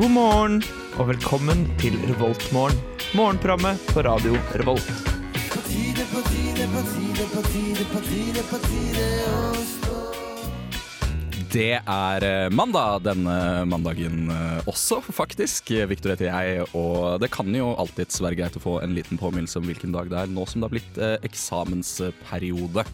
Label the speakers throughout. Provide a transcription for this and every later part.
Speaker 1: God morgen og velkommen til Revoltmorgen. Morgenprogrammet på radio Revolt.
Speaker 2: Det er eh, mandag denne mandagen eh, også, faktisk. Victor heter jeg, og det kan jo alltids være greit å få en liten påminnelse om hvilken dag det er, nå som det har blitt eh, eksamensperiode.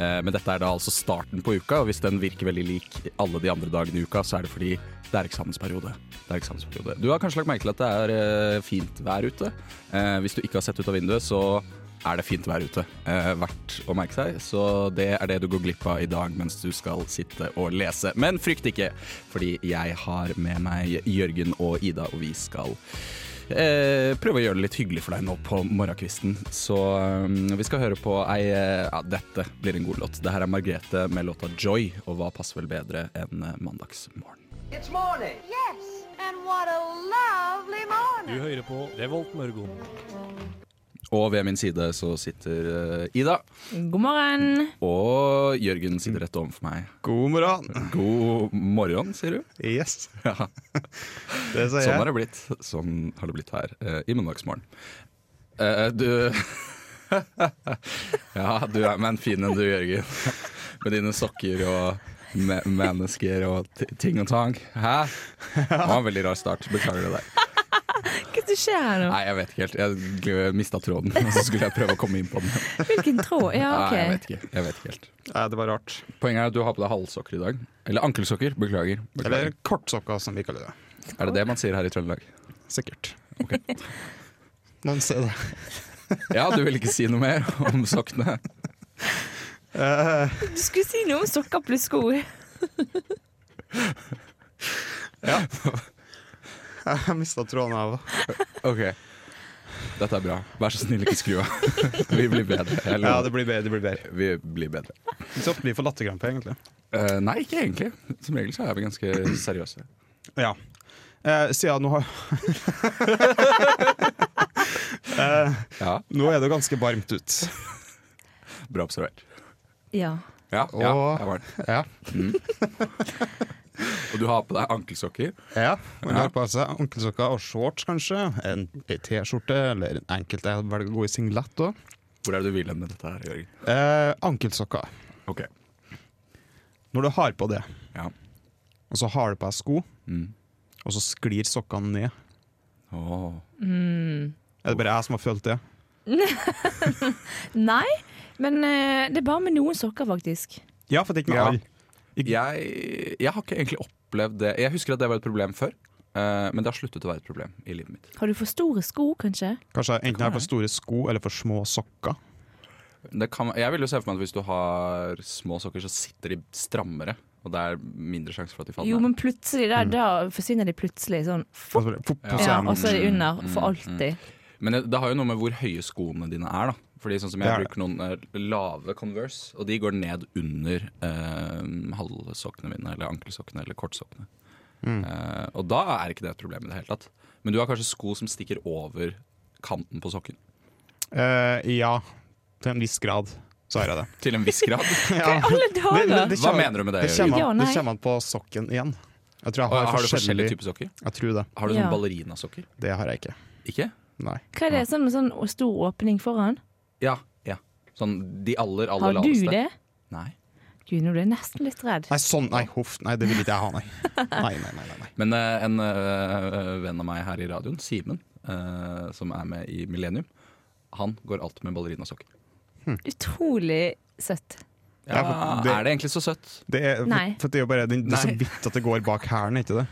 Speaker 2: Eh, Men dette er da altså starten på uka, og hvis den virker veldig lik alle de andre dagene i uka, så er det fordi det er eksamensperiode. Det er eksamensperiode. Du har kanskje lagt merke til at det er eh, fint vær ute. Eh, Hvis du ikke har sett ut av vinduet, så er det fint vær ute. Eh, verdt å merke seg. Så det er det du går glipp av i dag mens du skal sitte og lese. Men frykt ikke, fordi jeg har med meg Jørgen og Ida, og vi skal eh, prøve å gjøre det litt hyggelig for deg nå på morgenkvisten. Så eh, vi skal høre på ei eh, Ja, dette blir en god låt. Det her er Margrethe med låta 'Joy', og hva passer vel bedre enn eh, mandagsmorgen?
Speaker 3: It's morning.
Speaker 4: Yes, and what a lovely morning.
Speaker 5: Du hører på Revolt Mørgon.
Speaker 2: Og ved min side så sitter eh, Ida,
Speaker 6: God morgen.
Speaker 2: og Jørgen sitter rett overfor meg.
Speaker 7: God morgen.
Speaker 2: God morgen, sier du?
Speaker 7: Yes,
Speaker 2: Ja.
Speaker 7: det sa jeg.
Speaker 2: Sånn har det blitt. Sånn har det blitt her eh, i Mandagsmorgen. Eh, du Ja, du er med en fin en du, Jørgen. Med dine sokker og me mennesker og ti- ting og tang. Hæ? Det var en veldig rar start. Beklager det der.
Speaker 6: Hva er det som skjer her nå?
Speaker 2: Nei, jeg vet ikke helt. Jeg mista tråden, og så skulle jeg prøve å komme inn på den.
Speaker 6: Hvilken tråd? Ja,
Speaker 2: Nei, jeg
Speaker 6: ok.
Speaker 2: vet ikke, jeg vet ikke helt.
Speaker 7: Nei, det var rart.
Speaker 2: Poenget er at du har på deg halvsokker i dag. Eller ankelsokker. Beklager.
Speaker 7: Eller
Speaker 2: Beklager.
Speaker 7: kortsokker, som vi kaller det.
Speaker 2: Er det det man sier her i Trøndelag?
Speaker 7: Sikkert.
Speaker 2: Ok.
Speaker 7: Noen ser det.
Speaker 2: Ja, du vil ikke si noe mer om sokkene?
Speaker 7: Eh,
Speaker 6: Du skulle si noe om sokker pluss sko.
Speaker 7: jeg mista tråden, jeg òg.
Speaker 2: Ok Dette er bra. Vær så snill, ikke skru av. Vi blir bedre. Jeg
Speaker 7: Ja,
Speaker 2: lover.
Speaker 7: det blir bedre. det blir bedre
Speaker 2: Vi blir bedre.
Speaker 7: Så ofte vi får latterkrampe, egentlig.
Speaker 2: Eh, nei, ikke egentlig. Som regel så er vi ganske seriøse.
Speaker 7: Ja. Eh, siden nå, har-
Speaker 2: Ja,
Speaker 7: nå er det jo ganske varmt ute.
Speaker 2: Bra observert.
Speaker 6: Ja.
Speaker 2: Ja, ja
Speaker 7: Og-
Speaker 2: jeg var den.
Speaker 7: Ja.
Speaker 2: Og du har på deg ankelsokker.
Speaker 7: ja. Man
Speaker 2: Ja.
Speaker 7: har på seg ankelsokker og shorts, kanskje. En ei T-skjorte, eller en enkelte velger å gå i singlet òg.
Speaker 2: Hvor er det du vil hen med dette her, Jørgen?
Speaker 7: Eh, ankelsokker.
Speaker 2: Ok,
Speaker 7: Når du har på det,
Speaker 2: ja
Speaker 7: og så har du på deg sko,
Speaker 2: Mm.
Speaker 7: og så sklir sokkene ned.
Speaker 2: Åh.
Speaker 7: Er det bare jeg som har følt det?
Speaker 6: Nei, men eh, det er bare med noen sokker, faktisk.
Speaker 7: Ja, for det er ikke med
Speaker 2: Ja.
Speaker 7: alle.
Speaker 2: Jeg, jeg har ikke egentlig opplevd det. Jeg husker at det var et problem før. eh, men det har sluttet å være et problem i livet mitt.
Speaker 6: Har du for store sko, kanskje?
Speaker 7: Kanskje enten jeg har for store sko eller for små sokker.
Speaker 2: Det kan, jeg vil jo se for meg at hvis du har små sokker, så sitter de strammere. Og det er mindre sjanse for at de faller.
Speaker 6: Jo,
Speaker 2: ned.
Speaker 6: men plutselig der, da forsvinner de plutselig sånn.
Speaker 7: Og så Altså, bare, pop,
Speaker 2: Ja.
Speaker 7: så
Speaker 6: Ja, altså-
Speaker 7: er man-
Speaker 6: og så er de under for alltid.
Speaker 2: Men det, det har jo noe med hvor høye skoene dine er. da Fordi sånn som
Speaker 7: Det
Speaker 2: Jeg
Speaker 7: er det.
Speaker 2: bruker noen eh, lave Converse, og de går ned under eh, halvsokkene mine. Eller ankelsokkene eller kortsokkene. Eh, og da er ikke det et problem i det hele tatt. Men du har kanskje sko som stikker over kanten på sokken.
Speaker 7: Eh, ja, til en viss grad så har jeg det.
Speaker 2: Til en viss grad.
Speaker 7: Ja.
Speaker 6: Alle dager!
Speaker 2: Hva mener du med det?
Speaker 7: Det
Speaker 2: Jørgen?
Speaker 7: kommer,
Speaker 6: Ja,
Speaker 7: an-
Speaker 6: nei.
Speaker 7: det kommer an på sokken igjen. Jeg tror jeg
Speaker 2: Har,
Speaker 7: har,
Speaker 2: du forskjellige
Speaker 7: forskjellig
Speaker 2: typer sokker?
Speaker 7: Jeg tror det.
Speaker 2: Har du
Speaker 6: Ja.
Speaker 2: sånn ballerinasokker?
Speaker 7: Det har jeg ikke.
Speaker 2: Ikke?
Speaker 7: Nei.
Speaker 6: Hva er det, sånn, sånn stor åpning foran?
Speaker 2: Ja. ja Sånn de aller, aller
Speaker 6: Har du
Speaker 2: laveste.
Speaker 6: det?
Speaker 2: Nei.
Speaker 6: Gud, nå ble jeg nesten litt redd.
Speaker 7: Nei, sånn, nei, huff, nei, det vil ikke jeg ha, nei. Nei, nei, nei, nei, nei.
Speaker 2: Men eh, en eh, venn av meg her i radioen, Simen, eh, som er med i Millennium, han går alltid med ballerinasokker.
Speaker 6: Utrolig søtt.
Speaker 2: Ja,
Speaker 7: Ja, for det-
Speaker 2: er det egentlig så søtt?
Speaker 7: Det er,
Speaker 6: Nei.
Speaker 7: For, for det er jo bare det, det er så
Speaker 2: Nei.
Speaker 7: vidt at det går bak hælen, ikke det?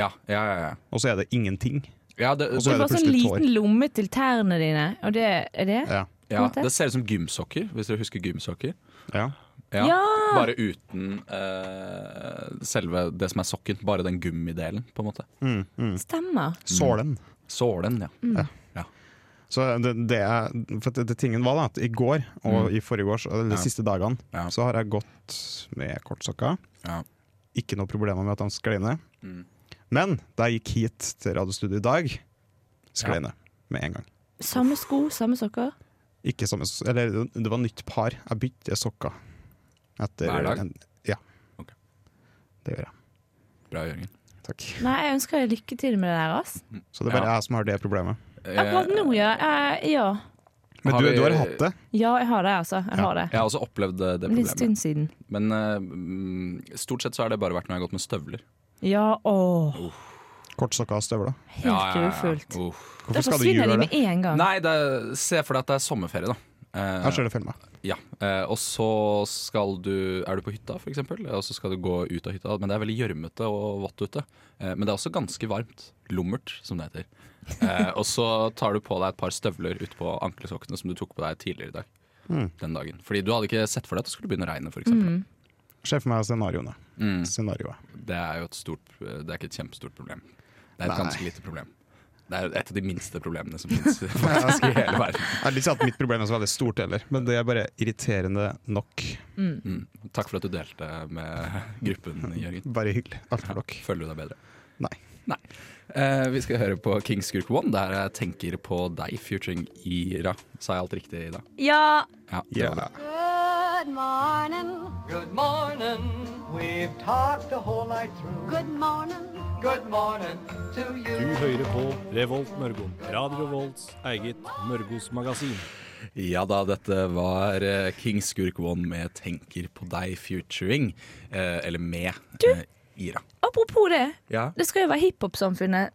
Speaker 2: Ja, ja, ja. ja.
Speaker 7: Og så er det ingenting.
Speaker 2: ja, det,
Speaker 7: Og
Speaker 6: Det
Speaker 7: så
Speaker 6: er
Speaker 7: er det
Speaker 6: bare sånn
Speaker 7: plutselig tår.
Speaker 6: liten lomme til tærne dine, og det er det?
Speaker 7: Ja.
Speaker 2: ja, det ser ut som gymsokker, hvis dere husker gymsokker.
Speaker 7: ja.
Speaker 2: Ja,
Speaker 6: Ja!
Speaker 2: Bare uten eh, selve det som er sokken. Bare den gummidelen, på en måte.
Speaker 6: Stemmer.
Speaker 7: Mm, Sålen.
Speaker 2: Sålen, ja.
Speaker 7: Så det, det er, for det, det tingen var da at i går og i forgårs, eller de
Speaker 2: Mm. Ja.
Speaker 7: siste dagene,
Speaker 2: Ja.
Speaker 7: så har jeg gått med kortsokker.
Speaker 2: Ja. Mm.
Speaker 7: Ikke noe problemer med at de sklei ned. Men da jeg gikk hit til radiostudio i dag, sklei
Speaker 2: Ja.
Speaker 7: ned med en gang.
Speaker 6: Samme sko, samme sokker.
Speaker 7: Ikke samme, s- eller det var nytt par. Jeg bytter sokker. Etter
Speaker 2: Hver dag?
Speaker 7: En, ja.
Speaker 2: Ok.
Speaker 7: Det gjør jeg.
Speaker 2: Bra, Jørgen.
Speaker 7: Takk.
Speaker 6: Nei, jeg ønsker deg lykke til med det der, ass.
Speaker 7: Så det er bare
Speaker 2: Ja.
Speaker 7: jeg som har det problemet.
Speaker 6: Akkurat nå, ja. Eh, ja.
Speaker 7: Men
Speaker 2: Har
Speaker 7: du,
Speaker 2: vi-
Speaker 7: du har hatt det.
Speaker 6: Ja, jeg har det, altså. Jeg har det.
Speaker 2: Jeg har også opplevd eh, det, det
Speaker 6: Litt
Speaker 2: problemet.
Speaker 6: stund siden.
Speaker 2: Men eh, mm, stort sett så har det bare vært når jeg har gått med støvler.
Speaker 6: Ja, åh.
Speaker 7: Kortstokka og støvler.
Speaker 6: Helt
Speaker 2: Ja, ja, ja.
Speaker 6: grufullt.
Speaker 2: Uff.
Speaker 7: Hvorfor
Speaker 6: Da
Speaker 7: skal du
Speaker 6: forsvinner de
Speaker 7: gjøre det?
Speaker 6: med en gang.
Speaker 2: Nei, det er, se for deg at det er sommerferie, da. Eh,
Speaker 7: Her ser det filma.
Speaker 2: ja. Eh, og så skal du Er du på hytta, f.eks., og så skal du gå ut av hytta. Men det er veldig gjørmete og vått ute. Eh, men det er også ganske varmt. Lummert, som det heter. Eh, og så tar du på deg et par støvler utpå ankelsokkene som du tok på deg tidligere i dag. Den dagen. Fordi du hadde ikke sett for deg at det skulle begynne å regne, f.eks. Mm.
Speaker 7: Se for meg scenarioene.
Speaker 2: Mm.
Speaker 7: Scenarioet.
Speaker 2: Det er jo et stort Det er ikke et kjempestort problem. Det er et
Speaker 7: Nei.
Speaker 2: ganske lite problem. Det er et av de minste problemene som fins i hele verden.
Speaker 7: Jeg vil ikke si sånn at mitt problem er så veldig stort heller, men det er bare irriterende nok.
Speaker 2: Mm. Takk for at du delte med gruppen, Jørgen.
Speaker 7: Bare hyggelig. Alt for dere.
Speaker 2: Føler du deg bedre?
Speaker 7: Nei.
Speaker 2: Nei. Eh, vi skal høre på Kings Group One, der jeg tenker på deg, featuring Ira. Sa jeg alt riktig i dag?
Speaker 6: Ja,
Speaker 2: Ja. det
Speaker 7: Ja.
Speaker 2: var det.
Speaker 4: Good morning.
Speaker 3: Good morning. We've talked the whole night through.
Speaker 4: Good morning.
Speaker 3: Good morning to you.
Speaker 5: Du hører på Revolt Mørgo. Radio Revolts eget Mørgos magasin.
Speaker 2: Ja da, dette var eh, Kings Group One med 'Tenker på deg', featuring. Eh, eller med eh, Ira.
Speaker 6: apropos det.
Speaker 2: Ja,
Speaker 6: Det skal jo være hiphop-samfunnet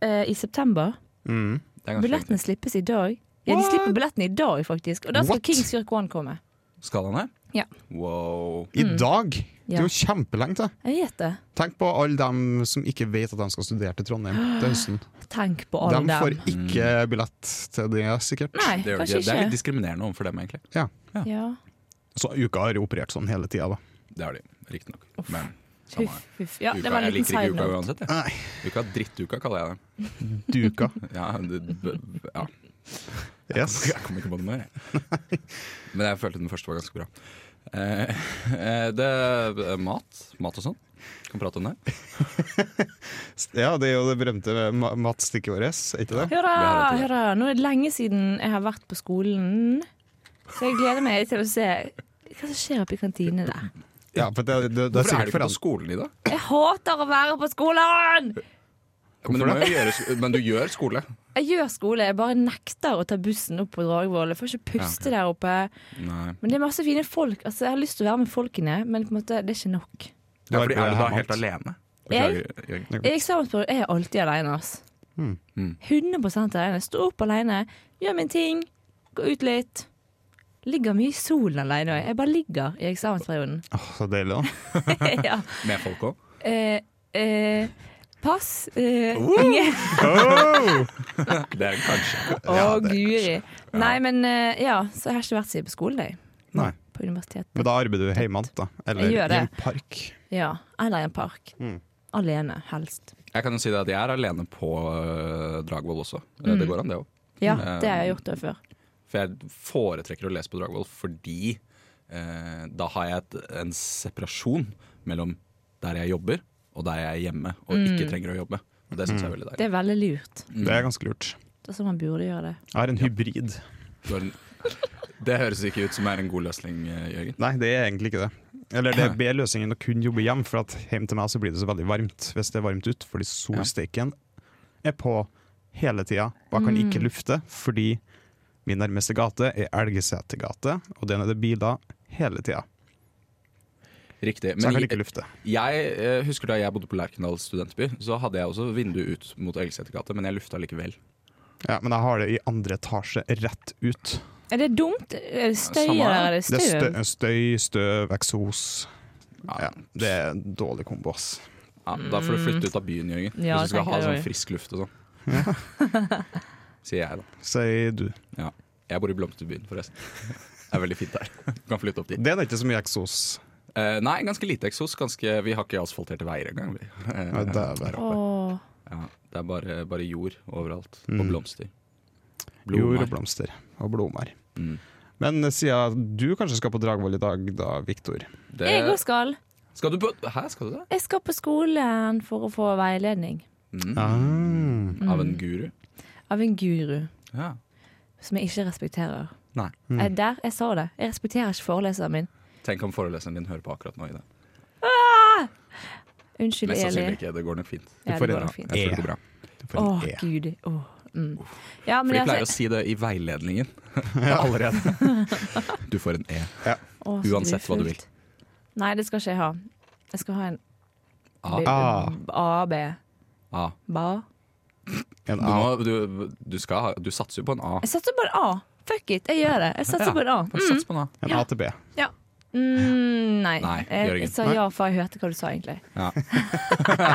Speaker 6: eh, i september.
Speaker 2: det er ganske
Speaker 6: Billettene
Speaker 2: riktig.
Speaker 6: slippes i dag. Ja, de slipper billettene i dag, faktisk. Og da skal
Speaker 7: What?
Speaker 6: Kings Kirk One komme.
Speaker 2: Skal han her?
Speaker 6: Ja.
Speaker 2: Wow.
Speaker 7: I dag! Det
Speaker 6: Ja.
Speaker 7: er jo kjempelenge til.
Speaker 6: Jeg vet det.
Speaker 7: Tenk på alle dem som ikke vet at de skal studere til Trondheim til høsten.
Speaker 6: Tenk på alle
Speaker 7: De
Speaker 6: dem.
Speaker 7: får ikke billett til det, sikkert.
Speaker 6: Nei,
Speaker 2: Det, gjør det,
Speaker 6: kanskje
Speaker 2: ikke. det er litt
Speaker 6: ikke.
Speaker 2: diskriminerende overfor dem, egentlig.
Speaker 7: Ja.
Speaker 6: Ja.
Speaker 7: Så uka har jo operert sånn hele tida, da.
Speaker 2: Det har de, riktignok. Men samme
Speaker 6: Huff,
Speaker 2: her.
Speaker 6: huff. Ja, det
Speaker 2: Uka,
Speaker 6: var en
Speaker 2: jeg
Speaker 6: liten
Speaker 2: liker
Speaker 6: side
Speaker 2: ikke uka
Speaker 6: note.
Speaker 2: uansett. Jeg.
Speaker 7: Nei,
Speaker 2: Uka er Drittuka kaller jeg det.
Speaker 7: duka.
Speaker 2: Ja, det, b- b- ja.
Speaker 7: Yes.
Speaker 2: Jeg kom ikke på noe mer, jeg. Men jeg følte den første var ganske bra. Eh, eh, det eh, Mat mat og sånn. Kan prate om det.
Speaker 7: Ja, det er jo det berømte ma- matstikket vårt, er ikke det?
Speaker 6: Hurra,
Speaker 2: Vi har det til det.
Speaker 6: hurra. Nå er det lenge siden jeg har vært på skolen. Så jeg gleder meg til å se hva som skjer oppe i kantinene der.
Speaker 7: Ja, for det, det,
Speaker 2: Hvorfor er
Speaker 7: det er
Speaker 2: du ikke
Speaker 7: sikkert
Speaker 2: på
Speaker 7: forandret.
Speaker 2: skolen i dag?
Speaker 6: Jeg hater å være på skolen!
Speaker 2: Men du,
Speaker 7: Hvorfor
Speaker 2: må jo gjøre, sk- men du gjør skole.
Speaker 6: Jeg gjør skole, jeg bare nekter å ta bussen opp på Dragvoll. Jeg får ikke puste der oppe.
Speaker 2: Nei.
Speaker 6: Men det er masse fine folk. Altså, jeg har lyst til å være med folkene, men på en måte, det er ikke nok.
Speaker 7: Du
Speaker 2: Ja, fordi
Speaker 7: arbeider
Speaker 2: er du da
Speaker 7: her
Speaker 2: helt
Speaker 7: mat.
Speaker 2: alene?
Speaker 6: Jeg?
Speaker 2: Beklager, Jørgen.
Speaker 6: I eksamensperiode er jeg alltid alene. Ass.
Speaker 2: Hmm.
Speaker 6: 100 alene. Stå opp alene, gjør min ting, gå ut litt. Ligger mye i solen alene. også. Jeg bare ligger i eksamensperioden.
Speaker 7: Åh, så deilig, da.
Speaker 6: ja.
Speaker 2: Med folk òg?
Speaker 6: eh, eh, pass. Eh, ingen
Speaker 2: Det er kanskje.
Speaker 6: Å, guri. Nei, men eh, ja, så jeg har ikke vært siden på skolen, jeg.
Speaker 7: Nei.
Speaker 6: På universitetet.
Speaker 7: Men da arbeider du hjemme, da. Eller
Speaker 6: Jeg
Speaker 7: i
Speaker 6: gjør
Speaker 7: en
Speaker 6: det.
Speaker 7: park.
Speaker 6: Ja. Eller i en park.
Speaker 7: Mm.
Speaker 6: Alene, helst.
Speaker 2: Jeg kan jo si det at jeg er alene på eh, Dragvoll også. Eh,
Speaker 6: Mm.
Speaker 2: Det går an, det òg.
Speaker 6: Ja,
Speaker 7: Mm.
Speaker 6: det har jeg gjort det før.
Speaker 2: For jeg foretrekker å lese på Dragvoll fordi eh, da har jeg et, en separasjon mellom der jeg jobber og der jeg er hjemme og
Speaker 6: Mm.
Speaker 2: ikke trenger å jobbe. Og det syns jeg er veldig deilig. Mm.
Speaker 6: Det er veldig lurt.
Speaker 7: Det er ganske lurt.
Speaker 6: Det er sånn man burde gjøre det.
Speaker 7: Jeg har en hybrid.
Speaker 2: Du har en- Det høres ikke ut som er en god løsning, eh, Jørgen.
Speaker 7: Nei, det er egentlig ikke det. Eller det er bedre løsningen å kun jobbe hjem, for at hjem til meg så blir det så veldig varmt hvis det er varmt ute. Fordi solsteken er på hele tida, og jeg kan ikke lufte fordi min nærmeste gate er Elgesetergate, og den er det biler hele tida.
Speaker 2: Riktig.
Speaker 7: Så jeg kan
Speaker 2: Men
Speaker 7: ikke
Speaker 2: jeg,
Speaker 7: lufte.
Speaker 2: jeg eh, husker da jeg bodde på Lerkendal studentby, så hadde jeg også vindu ut mot Elgesetergata, men jeg lufta likevel.
Speaker 7: Ja, men jeg har det i andre etasje, rett ut.
Speaker 6: Er det dumt? Er det Støy
Speaker 2: Samme her.
Speaker 6: eller er det
Speaker 7: Det
Speaker 6: støv?
Speaker 7: er stø støy, støv, eksos. Ja, det er en dårlig kombo, ass.
Speaker 2: Ja, da får du flytte ut av byen, Jørgen.
Speaker 6: Mm. Ja,
Speaker 2: hvis du skal
Speaker 6: tenker
Speaker 2: ha
Speaker 6: jeg
Speaker 2: sånn
Speaker 6: også.
Speaker 2: frisk luft og sånn. Sier jeg, da.
Speaker 7: Sier du.
Speaker 2: Ja. Jeg bor i Blomsterbyen, forresten. Det er veldig fint der. Du kan flytte opp dit.
Speaker 7: Det er da ikke så mye eksos.
Speaker 2: Eh, nei, ganske lite eksos. Ganske, vi har ikke asfalterte veier engang. vi. Eh,
Speaker 7: Ja, det er bare-
Speaker 6: Åh,
Speaker 2: ja, det er bare, bare jord overalt, og blomster.
Speaker 7: Mm. Jord
Speaker 2: Blomster.
Speaker 7: og blomster og blomster.
Speaker 2: Mm.
Speaker 7: Men eh, siden du kanskje skal på Dragvoll i dag, da, Viktor.
Speaker 2: Det-
Speaker 6: jeg òg skal.
Speaker 2: Skal du på Hæ, skal du det?
Speaker 6: Jeg skal på skolen for å få veiledning
Speaker 2: Mm.
Speaker 7: Ah.
Speaker 2: Av en guru?
Speaker 6: av en guru
Speaker 2: Ja.
Speaker 6: som jeg ikke respekterer.
Speaker 2: Nei.
Speaker 7: Mm.
Speaker 6: Jeg, der, jeg sa det. Jeg respekterer ikke foreleseren min.
Speaker 2: Tenk om foreleseren din hører på akkurat nå, Ida.
Speaker 6: Unnskyld,
Speaker 2: Mest
Speaker 6: Eli.
Speaker 2: sannsynlig ikke. Det går nok fint.
Speaker 6: Ja, det
Speaker 7: får
Speaker 6: går
Speaker 7: en-
Speaker 6: nok fint.
Speaker 2: Jeg tror det går bra.
Speaker 7: For
Speaker 6: Å,
Speaker 7: en E.
Speaker 6: gud. Åh, mm. ja,
Speaker 2: For
Speaker 6: men
Speaker 2: de pleier å
Speaker 6: altså,
Speaker 2: si det i veiledningen.
Speaker 7: Ja, allerede.
Speaker 2: Du får en E.
Speaker 6: å, så
Speaker 2: uansett hva du vil.
Speaker 6: grufullt. Nei, det skal ikke jeg ha. Jeg skal ha en
Speaker 2: A.
Speaker 7: Ah.
Speaker 6: AB.
Speaker 2: A.
Speaker 6: Ba.
Speaker 7: En
Speaker 2: Du,
Speaker 7: A.
Speaker 2: må, du, du, skal, ha- du satser jo på en A.
Speaker 6: Jeg satser på en A. Fuck it, jeg gjør det. Jeg satser
Speaker 2: Ja,
Speaker 6: på en A.
Speaker 2: bare Sats på en A.
Speaker 7: En A til B.
Speaker 6: Mm, nei.
Speaker 2: Nei,
Speaker 6: jeg,
Speaker 2: Jørgen.
Speaker 6: jeg sa ja, for jeg hørte hva du sa, egentlig.
Speaker 2: Ja.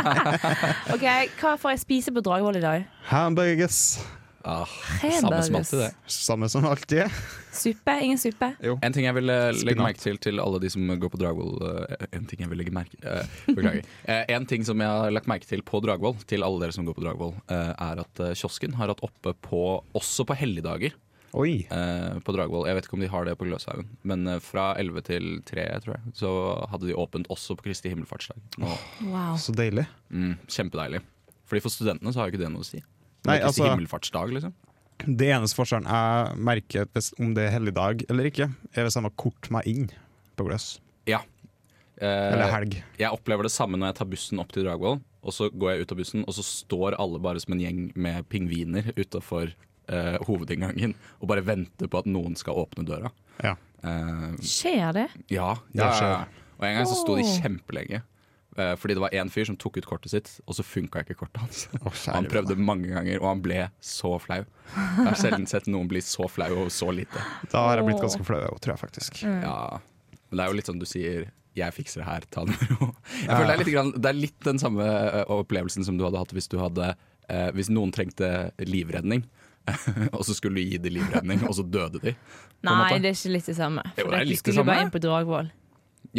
Speaker 6: OK, hva får jeg spise på Dragvoll i dag?
Speaker 7: Hamburgers.
Speaker 2: Ah,
Speaker 6: Hamburgers.
Speaker 2: samme som alltid, det.
Speaker 7: Samme som alltid.
Speaker 6: Suppe? Ingen suppe?
Speaker 2: En ting jeg vil eh, legge
Speaker 7: Spinat.
Speaker 2: merke til til alle de som går på Dragvoll eh, En ting jeg vil legge merke eh, Beklager. Eh, en ting som jeg har lagt merke til på Dragvoll, til alle dere som går på Dragvoll, eh, er at eh, kiosken har hatt oppe på, også på helligdager
Speaker 7: Oi.
Speaker 2: eh, på Dragvoll Jeg vet ikke om de har det på Gløshaugen, men eh, fra 11 til 3, tror jeg, så hadde de åpent også på Kristi himmelfartsdag. Nå,
Speaker 6: Wow.
Speaker 7: Så deilig.
Speaker 2: mm, kjempedeilig. Fordi For studentene så har jo ikke det noe å si.
Speaker 7: Nei,
Speaker 2: Nei, Kristi
Speaker 7: altså-
Speaker 2: himmelfartsdag, liksom.
Speaker 7: Det eneste forskjellen jeg merker hvis- om det er helligdag eller ikke, er hvis jeg må korte meg inn på Gløs.
Speaker 2: Ja. Eh,
Speaker 7: Eller helg.
Speaker 2: Jeg opplever det samme når jeg tar bussen opp til Dragvoll. Og så går jeg ut av bussen, og så står alle bare som en gjeng med pingviner utafor eh, hovedinngangen og bare venter på at noen skal åpne døra.
Speaker 7: Ja.
Speaker 2: Eh,
Speaker 6: Skjer det?
Speaker 2: ja,
Speaker 7: Det
Speaker 2: ja,
Speaker 7: skjer.
Speaker 2: ja. Og en gang så sto de
Speaker 6: Åh.
Speaker 2: kjempelenge. eh, Fordi det var én fyr som tok ut kortet sitt, og så funka ikke kortet hans.
Speaker 7: Å,
Speaker 2: Og han
Speaker 7: kjære
Speaker 2: prøvde mange ganger, og han ble så flau. Jeg har sjelden sett noen bli så flau over så lite.
Speaker 7: vene. Da har jeg blitt ganske flau, jeg, tror jeg faktisk.
Speaker 2: Ja, men det er jo litt sånn du sier 'jeg fikser det her, ta det med ro'. Jeg føler det, er litt grann, det er litt den samme eh, opplevelsen som du hadde hatt hvis, du hadde, eh, hvis noen trengte livredning. og så skulle du gi dem livredning, og så døde de. på en
Speaker 6: Nei,
Speaker 2: måte.
Speaker 6: det er ikke litt det samme.
Speaker 2: Jo,
Speaker 6: For
Speaker 2: det er litt
Speaker 6: at du
Speaker 2: det
Speaker 6: skulle
Speaker 2: samme.
Speaker 6: bare inn på Dragvoll.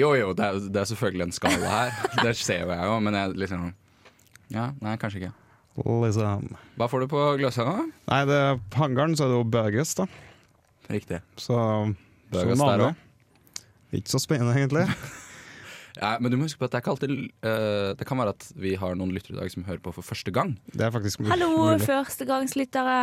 Speaker 2: Jo jo, det er, det er selvfølgelig en skala her. Det ser jo jeg òg, men jeg liksom Ja, nei, kanskje ikke.
Speaker 7: Liksom.
Speaker 2: Hva får du på Gløshauga?
Speaker 7: Nei, det er på hangaren så er det jo burgers, da.
Speaker 2: Riktig.
Speaker 7: Så
Speaker 2: Burgers der
Speaker 7: som vanlig.
Speaker 2: også.
Speaker 7: Ikke så spennende, egentlig.
Speaker 2: Ja, men du må huske på at det er ikke alltid eh, Det kan være at vi har noen lyttere i dag som hører på for første gang.
Speaker 7: Det er faktisk mul-
Speaker 6: Hallo,
Speaker 7: mulig.
Speaker 6: førstegangslyttere.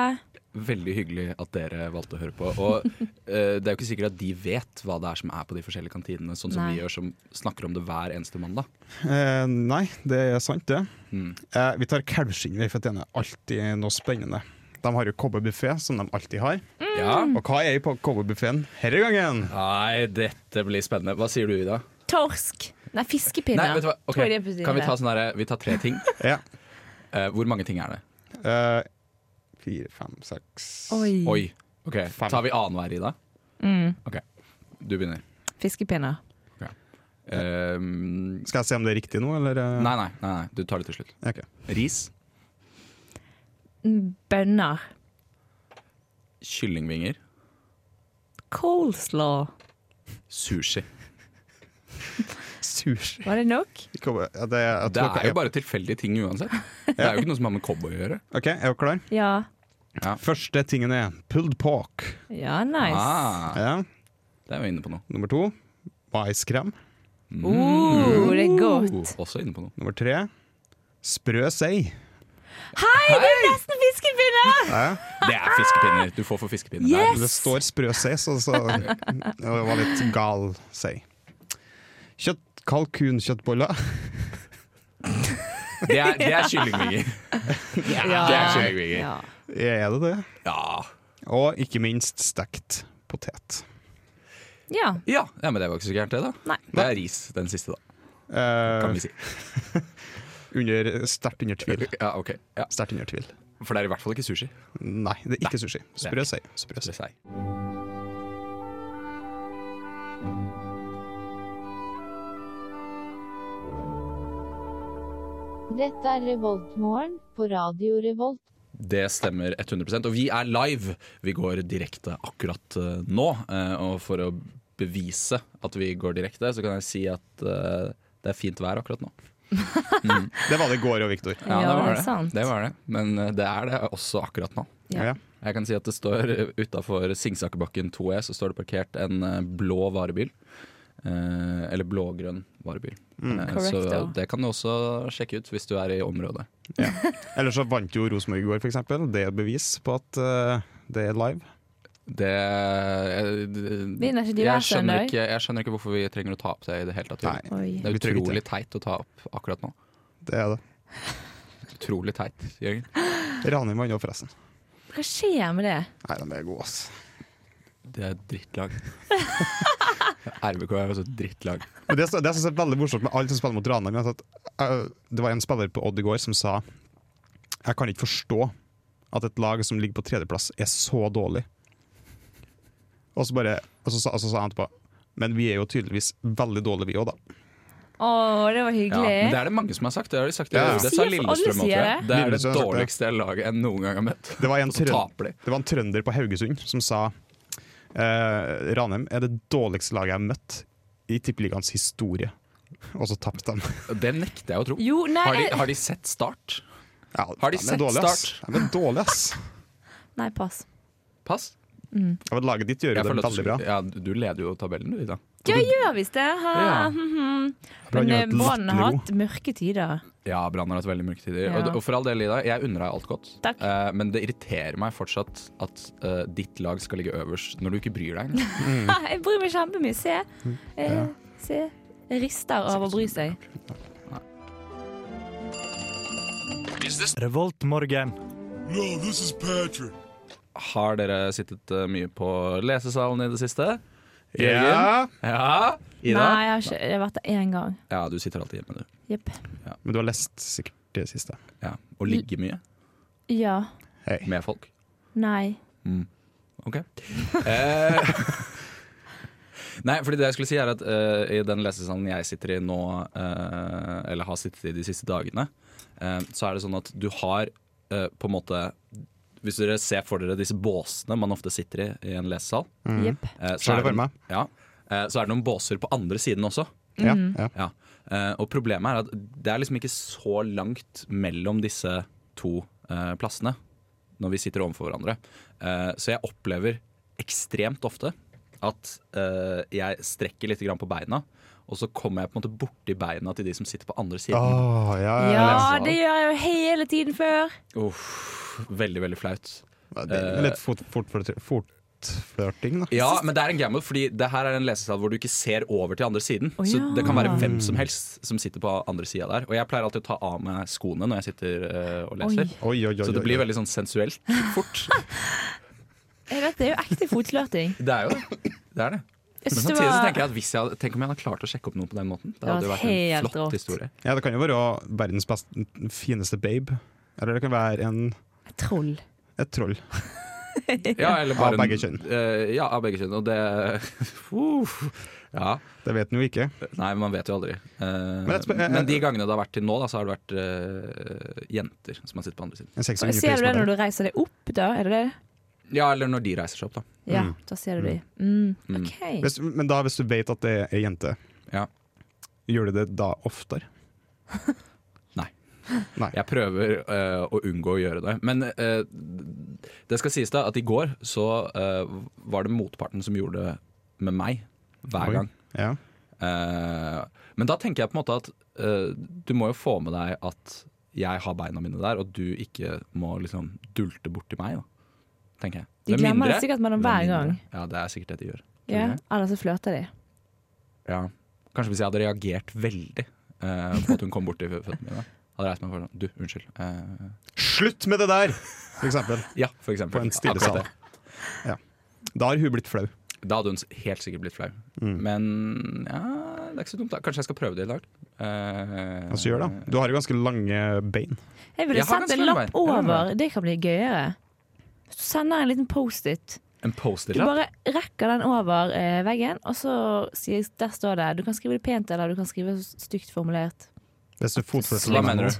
Speaker 2: Veldig hyggelig at dere valgte å høre på. Og eh, Det er jo ikke sikkert at de vet hva det er som er på de forskjellige kantinene, sånn som
Speaker 6: Nei.
Speaker 2: vi gjør som snakker om det hver eneste mandag.
Speaker 7: Eh, nei, det er sant, det.
Speaker 2: Mm.
Speaker 7: Eh, vi tar kalvskinn, vi, for den er alltid noe spennende. De har jo cowboybuffé, som de alltid har.
Speaker 6: Mm.
Speaker 2: Ja.
Speaker 7: Og hva er på cowboybuffeen denne gangen?
Speaker 2: Nei, dette blir spennende. Hva sier du, Ida?
Speaker 6: Torsk. Nei, fiskepinner.
Speaker 2: Nei, vet du hva? Ok,
Speaker 6: Tror jeg det er på sin
Speaker 2: Kan vi ta
Speaker 6: del.
Speaker 2: sånn derre Vi tar tre ting.
Speaker 7: Ja.
Speaker 2: Eh, hvor mange ting er det?
Speaker 7: Eh, fire, fem, seks
Speaker 6: Oi.
Speaker 2: Oi. OK.
Speaker 7: Fem.
Speaker 2: Tar vi annenhver, Ida?
Speaker 6: Mm.
Speaker 2: OK. Du begynner.
Speaker 6: Fiskepinner.
Speaker 2: Eh, nei,
Speaker 7: Skal jeg se om det er riktig nå, eller? eh?
Speaker 2: nei, nei, nei. Du tar det til slutt.
Speaker 7: Ok.
Speaker 2: Ris.
Speaker 6: Mm, Bønner.
Speaker 2: Kyllingvinger.
Speaker 6: Coleslaw.
Speaker 2: Sushi.
Speaker 7: Sushi.
Speaker 6: Var det nok?
Speaker 7: Cowboy. Ja, det, jeg
Speaker 2: Det
Speaker 7: tror
Speaker 2: er jo bare tilfeldige ting uansett. Det er jo ikke noe som har med cowboy å gjøre.
Speaker 7: OK, er dere klar?
Speaker 6: Ja.
Speaker 7: Første tingen er pulled pork.
Speaker 6: Ja, nice.
Speaker 2: Ah,
Speaker 7: Ja.
Speaker 2: det er vi inne på nå.
Speaker 7: Nummer to maiskrem.
Speaker 6: Oh, det er godt.
Speaker 2: Oh, også inne på noe.
Speaker 7: Nummer tre sprø sei.
Speaker 6: Hei, det er nesten fiskepinner!
Speaker 7: Ja.
Speaker 2: Det er fiskepinner. Du får for fiskepinner.
Speaker 6: Yes!
Speaker 7: Det står sprø sei, så, så det var litt gal sei. Kjøtt, kalkunkjøttboller.
Speaker 2: Det er, det er kyllingvinger.
Speaker 6: Ja.
Speaker 2: Det er kyllingvinger.
Speaker 6: Ja.
Speaker 7: Er det det?
Speaker 2: Ja.
Speaker 7: Og ikke minst stekt potet.
Speaker 6: ja.
Speaker 2: Ja. ja, men det var ikke så gærent, det, da.
Speaker 6: Nei.
Speaker 2: Det er ris, den siste, da. Kan
Speaker 7: Eh,
Speaker 2: vi si.
Speaker 7: under, sterkt under tvil.
Speaker 2: Ja, ok. Ja.
Speaker 7: Sterkt under tvil.
Speaker 2: For det er i hvert fall ikke sushi.
Speaker 7: Nei, det er ikke sushi. Sprø sei. Sprø sei.
Speaker 2: Det sier.
Speaker 8: Dette er Revoltmorgen på Radio Revolt.
Speaker 2: Det stemmer 100 Og vi er live! Vi går direkte akkurat eh, nå. Eh, og for å bevise at vi går direkte, så kan jeg si at eh, det er fint vær akkurat nå.
Speaker 7: Det var det i går òg, Viktor.
Speaker 6: Ja,
Speaker 2: det var det.
Speaker 6: sant.
Speaker 2: det var det. Men eh, det er det også akkurat nå.
Speaker 6: Ja.
Speaker 7: Ja.
Speaker 2: Jeg kan si at det står utafor Singsakerbakken 2E så står det parkert en eh, blå varebil. Eh, eller blågrønn varebil. Eh, så
Speaker 6: Correcto.
Speaker 2: det kan du også sjekke ut hvis du er i området.
Speaker 7: Eller så vant jo Rosenborg i går, f.eks. Det er bevis på at eh, det er live.
Speaker 2: Det jeg,
Speaker 6: Vinner ikke de hver
Speaker 2: jeg, skjønner
Speaker 6: søndag?
Speaker 2: ikke, jeg skjønner ikke hvorfor vi trenger å ta opp det i det hele tatt.
Speaker 7: Nei,
Speaker 2: Jørgen. Det er
Speaker 6: Oi.
Speaker 7: Vi trenger ikke
Speaker 2: utrolig teit å ta opp akkurat nå.
Speaker 7: Det er det.
Speaker 2: Utrolig teit, Jørgen.
Speaker 7: Ranheim vant òg, forresten.
Speaker 6: Hva skjer med det?
Speaker 7: Nei, de er gode, ass.
Speaker 2: Det er et drittlag. RBK er også et drittlag.
Speaker 7: Men det, det synes jeg er veldig morsomt med alle som spiller mot Ranheim. er at, eh, Det var en spiller på Odd i går som sa Jeg kan ikke forstå at et lag som ligger på tredjeplass, er så dårlig. Og så, bare, og så, sa- og så sa han etterpå Men vi er jo tydeligvis veldig dårlige, vi òg, da.
Speaker 6: Å, det var
Speaker 2: Ja,
Speaker 6: hyggelig.
Speaker 2: men det er det mange som har sagt. Det har de sagt
Speaker 7: Ja, ja.
Speaker 2: Det
Speaker 6: Sier-
Speaker 2: sa
Speaker 6: alle
Speaker 2: Lillestrøm også, tror
Speaker 6: sier
Speaker 2: jeg.
Speaker 6: det.
Speaker 2: Det er det
Speaker 7: Lillestrøm har sagt det.
Speaker 2: dårligste laget jeg noen gang har møtt.
Speaker 7: Det var en,
Speaker 2: Og så
Speaker 7: trøn,
Speaker 2: taper de.
Speaker 7: det var en trønder på Haugesund som sa eh, Ranheim er det dårligste laget jeg har møtt i Tippeligaens historie. Og så tapte de.
Speaker 2: Det nekter jeg å tro.
Speaker 6: Jo, nei,
Speaker 2: har, de,
Speaker 6: jeg-
Speaker 2: har de sett Start?
Speaker 7: Ja,
Speaker 2: Har de
Speaker 7: er
Speaker 2: sett
Speaker 7: dårlige, ass.
Speaker 2: Start?
Speaker 7: De er dårlige, ass.
Speaker 6: Nei, pass.
Speaker 2: Pass?
Speaker 7: Ja, men laget ditt gjør
Speaker 2: Jeg
Speaker 7: jo
Speaker 2: føler
Speaker 7: det
Speaker 2: at du,
Speaker 7: veldig bra.
Speaker 2: skulle- ja, du leder jo tabellen, du, Ida.
Speaker 6: Ja, gjør visst det. Ha.
Speaker 2: Ja.
Speaker 6: mhm.
Speaker 7: Brann
Speaker 6: Men eh,
Speaker 7: gjør et
Speaker 6: Brann har
Speaker 7: latterlig
Speaker 6: hatt mørke tider.
Speaker 2: Ja, Brann har hatt veldig mørke tider.
Speaker 6: Ja.
Speaker 2: Og, og for all del, Ida, jeg unner deg alt godt.
Speaker 6: Takk.
Speaker 2: Eh, men det irriterer meg fortsatt at eh, ditt lag skal ligge øverst når du ikke bryr deg engang.
Speaker 6: Ha, jeg bryr meg kjempemye. Se. Eh, se. Jeg rister av å bry seg.
Speaker 1: Revoltmorgen.
Speaker 2: Har dere sittet eh, mye på lesesalen i det siste?
Speaker 7: Ja,
Speaker 2: Ja? Ida?
Speaker 6: Nei, jeg har, ikke, jeg har vært der én gang.
Speaker 2: Ja, du sitter alltid hjemme, du.
Speaker 6: Jepp.
Speaker 7: men du har lest sikkert det siste.
Speaker 2: Ja. Og ligger mye
Speaker 6: Ja.
Speaker 7: Hei.
Speaker 2: med folk.
Speaker 6: Nei.
Speaker 2: Ok. Eh, nei, fordi det jeg skulle si er at eh, i den lesesalen jeg sitter i nå, eh, eller har sittet i de siste dagene, eh, så er det sånn at du har eh, på en måte Hvis dere ser for dere disse båsene man ofte sitter i i en lesesal,
Speaker 6: Jepp.
Speaker 2: eh, så,
Speaker 7: Ser
Speaker 2: er
Speaker 7: det for
Speaker 2: det,
Speaker 7: meg.
Speaker 2: ja, eh, så er det noen båser på andre siden også.
Speaker 7: Ja, ja.
Speaker 2: Ja. Eh, og problemet er at det er liksom ikke så langt mellom disse to eh, plassene når vi sitter overfor hverandre. Eh, så jeg opplever ekstremt ofte at eh, jeg strekker litt grann på beina, og så kommer jeg på en måte borti beina til de som sitter på andre
Speaker 7: Ah.
Speaker 2: siden.
Speaker 7: Åh, ja, ja.
Speaker 6: Ja, det gjør jeg jo hele tiden før.
Speaker 2: Uff, veldig, veldig flaut.
Speaker 7: ja. Det er litt fort, fort, fort, fortflørting, da.
Speaker 2: Ja, men det er en gamble, fordi det her er en lesesal hvor du ikke ser over til andre siden.
Speaker 6: Å,
Speaker 2: Så
Speaker 6: ja.
Speaker 2: det kan være hvem som helst som sitter på andre sida der. Og jeg pleier alltid å ta av meg skoene når jeg sitter eh, og leser.
Speaker 6: Oi.
Speaker 7: Oi, oi, oi,
Speaker 2: Så det
Speaker 7: oi,
Speaker 2: blir
Speaker 7: oi.
Speaker 2: veldig sånn sensuelt fort.
Speaker 6: Eh, Dette er jo ekte fotflørting.
Speaker 2: Det er jo det. det, er det. Men
Speaker 6: Jeg synes det
Speaker 2: samtidig så
Speaker 6: var-
Speaker 2: tenker jeg at hvis jeg hadde, Tenk om jeg hadde klart å sjekke opp noe på den måten. Det
Speaker 6: Det
Speaker 2: hadde jo
Speaker 6: var
Speaker 2: vært en
Speaker 6: helt
Speaker 2: flott
Speaker 6: rått.
Speaker 2: historie.
Speaker 7: Ja, det kan jo være verdens best, fineste babe. Eller det kan være en,
Speaker 6: Troll.
Speaker 7: et troll.
Speaker 2: Ja, eller
Speaker 7: Av
Speaker 2: bare en-
Speaker 7: begge kjønn.
Speaker 2: eh, ja, av begge kjønn. Og det Uff. Ja.
Speaker 7: Det vet en jo ikke.
Speaker 2: Nei, man vet jo aldri. Eh,
Speaker 7: Men jeg spør- eh,
Speaker 2: men de gangene det har vært til nå, da, så har det vært eh, jenter som har sittet på andre siden.
Speaker 7: En seks- og
Speaker 6: Ser du det
Speaker 7: europeisk
Speaker 6: når du reiser deg opp, da? Er det det?
Speaker 2: Ja, eller når de reiser seg opp, da.
Speaker 6: Ja, da ser du de. Mm. OK.
Speaker 7: Hvis, men da, hvis du vet at det er ei jente,
Speaker 2: Ja.
Speaker 7: gjør du det da oftere?
Speaker 2: Nei.
Speaker 7: Nei.
Speaker 2: Jeg prøver eh, å unngå å gjøre det. Men eh, det skal sies da at i går så eh, var det motparten som gjorde det med meg hver
Speaker 7: Oi.
Speaker 2: gang.
Speaker 7: Ja.
Speaker 2: Eh, men da tenker jeg på en måte at eh, du må jo få med deg at jeg har beina mine der, og du ikke må liksom dulte borti meg, da. Tenker jeg.
Speaker 6: De
Speaker 2: Med
Speaker 6: glemmer det
Speaker 2: mindre-
Speaker 6: sikkert mellom
Speaker 2: med
Speaker 6: hver
Speaker 2: mindre-
Speaker 6: gang.
Speaker 2: Ja, det er sikkert det de gjør. Tror du
Speaker 6: Ja,
Speaker 2: det?
Speaker 6: Eller så flørter de.
Speaker 2: Ja. Kanskje hvis jeg hadde reagert veldig eh, på at hun kom borti føttene mine. Hadde reist meg for sånn Du, unnskyld. eh,
Speaker 7: Slutt med det der! For eksempel.
Speaker 2: Ja, for eksempel.
Speaker 7: På en stille
Speaker 2: Akkurat
Speaker 7: sal.
Speaker 2: det.
Speaker 7: Da har hun blitt flau.
Speaker 2: Da hadde hun s- helt sikkert blitt flau.
Speaker 7: Mm.
Speaker 2: Men ja, det er ikke så dumt. da Kanskje jeg skal prøve det i dag. Eh,
Speaker 7: Altså, gjør det. Du har jo ganske lange bein.
Speaker 6: Jeg ville
Speaker 2: Jeg har
Speaker 6: sendt
Speaker 2: ganske
Speaker 6: en
Speaker 2: lang
Speaker 6: lapp
Speaker 2: vei. Ja,
Speaker 6: over. Det kan bli gøyere. Hvis du sender en liten Post-It.
Speaker 2: En
Speaker 6: Du
Speaker 2: Post-It-lapp?
Speaker 6: bare rekker den over eh, veggen, og så sier der står det Du kan skrive det pent, eller du kan skrive stygt formulert.
Speaker 7: Hvis du fotfølger
Speaker 2: Hva mener du?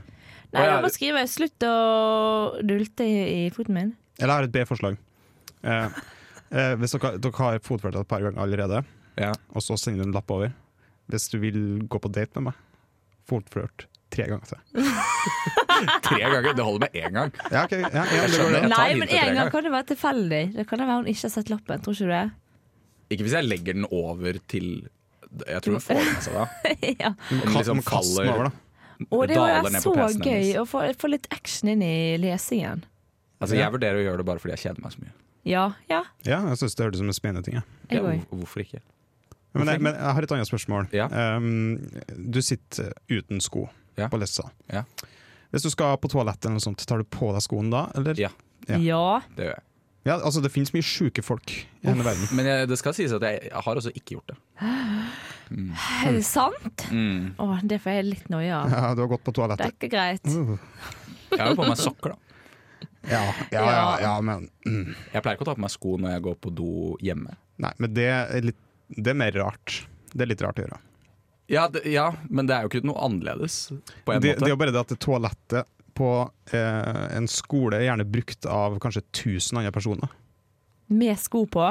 Speaker 6: Nei,
Speaker 2: Å, ja.
Speaker 6: du må skrive 'slutt å dulte i, i foten min'.
Speaker 7: Eller jeg har et B-forslag. Eh, eh, hvis dere, dere har fotfølgt et par ganger allerede,
Speaker 2: Ja.
Speaker 7: og så sender du en lapp over Hvis du vil gå på date med meg, fotflørt tre ganger til.
Speaker 2: Tre ganger? Det holder med én gang.
Speaker 7: Ja, ok, ja, ja, det går
Speaker 2: skjønner.
Speaker 7: det.
Speaker 2: tar
Speaker 6: Nei,
Speaker 2: hit til
Speaker 6: men en
Speaker 2: deg,
Speaker 6: gang
Speaker 2: jeg.
Speaker 6: kan det være tilfeldig. Det kan det være hun ikke har sett lappen. Tror ikke du det?
Speaker 2: Ikke hvis jeg legger den over til Jeg tror hun får det med seg da.
Speaker 6: ja.
Speaker 2: Om liksom
Speaker 7: Kast- kast den over,
Speaker 2: faller
Speaker 7: da.
Speaker 6: Og det
Speaker 2: Daler
Speaker 6: var
Speaker 2: ned
Speaker 6: så
Speaker 2: på PC-en
Speaker 6: gøy
Speaker 2: hennes.
Speaker 6: å få, få litt action inn i lesingen.
Speaker 2: Altså, jeg vurderer å gjøre det bare fordi jeg kjeder meg så mye.
Speaker 6: Ja, ja.
Speaker 7: Ja, jeg syns det hørtes ut som en spennende ting. Ja.
Speaker 6: Jeg
Speaker 2: Ja,
Speaker 6: òg.
Speaker 2: hvor- hvorfor ikke?
Speaker 7: Men, jeg, men jeg har et annet spørsmål.
Speaker 2: Ja.
Speaker 7: Um, du Ehm, sitter uten sko.
Speaker 2: Ja.
Speaker 7: på lessa.
Speaker 2: Ja.
Speaker 7: Hvis du skal på toalettet, eller noe sånt, tar du på deg skoen da? Eller?
Speaker 2: Ja.
Speaker 7: Ja.
Speaker 6: Ja.
Speaker 2: Det gjør jeg.
Speaker 7: Ja, altså, det finnes mye sjuke folk i denne verden.
Speaker 2: Men jeg, det skal sies at jeg, jeg har også ikke gjort det.
Speaker 6: Er det sant?
Speaker 2: Mm.
Speaker 6: Å, det får jeg litt noia av.
Speaker 7: Ja, du har gått på
Speaker 6: Det
Speaker 7: toalettet.
Speaker 6: er ikke greit.
Speaker 2: Mm. Jeg har jo på meg sokker, da.
Speaker 7: Ja, ja, ja, ja men mm.
Speaker 2: Jeg pleier ikke å ta på meg sko når jeg går på do hjemme.
Speaker 7: Nei, men det er, litt, det er mer rart. Det er litt rart å gjøre.
Speaker 2: Ja, det, ja, men det er jo ikke noe annerledes, på en
Speaker 7: Det, det
Speaker 2: måte.
Speaker 7: er jo bare det at det toalettet på eh, en skole er gjerne brukt av kanskje 1000 andre personer.
Speaker 6: Med sko på.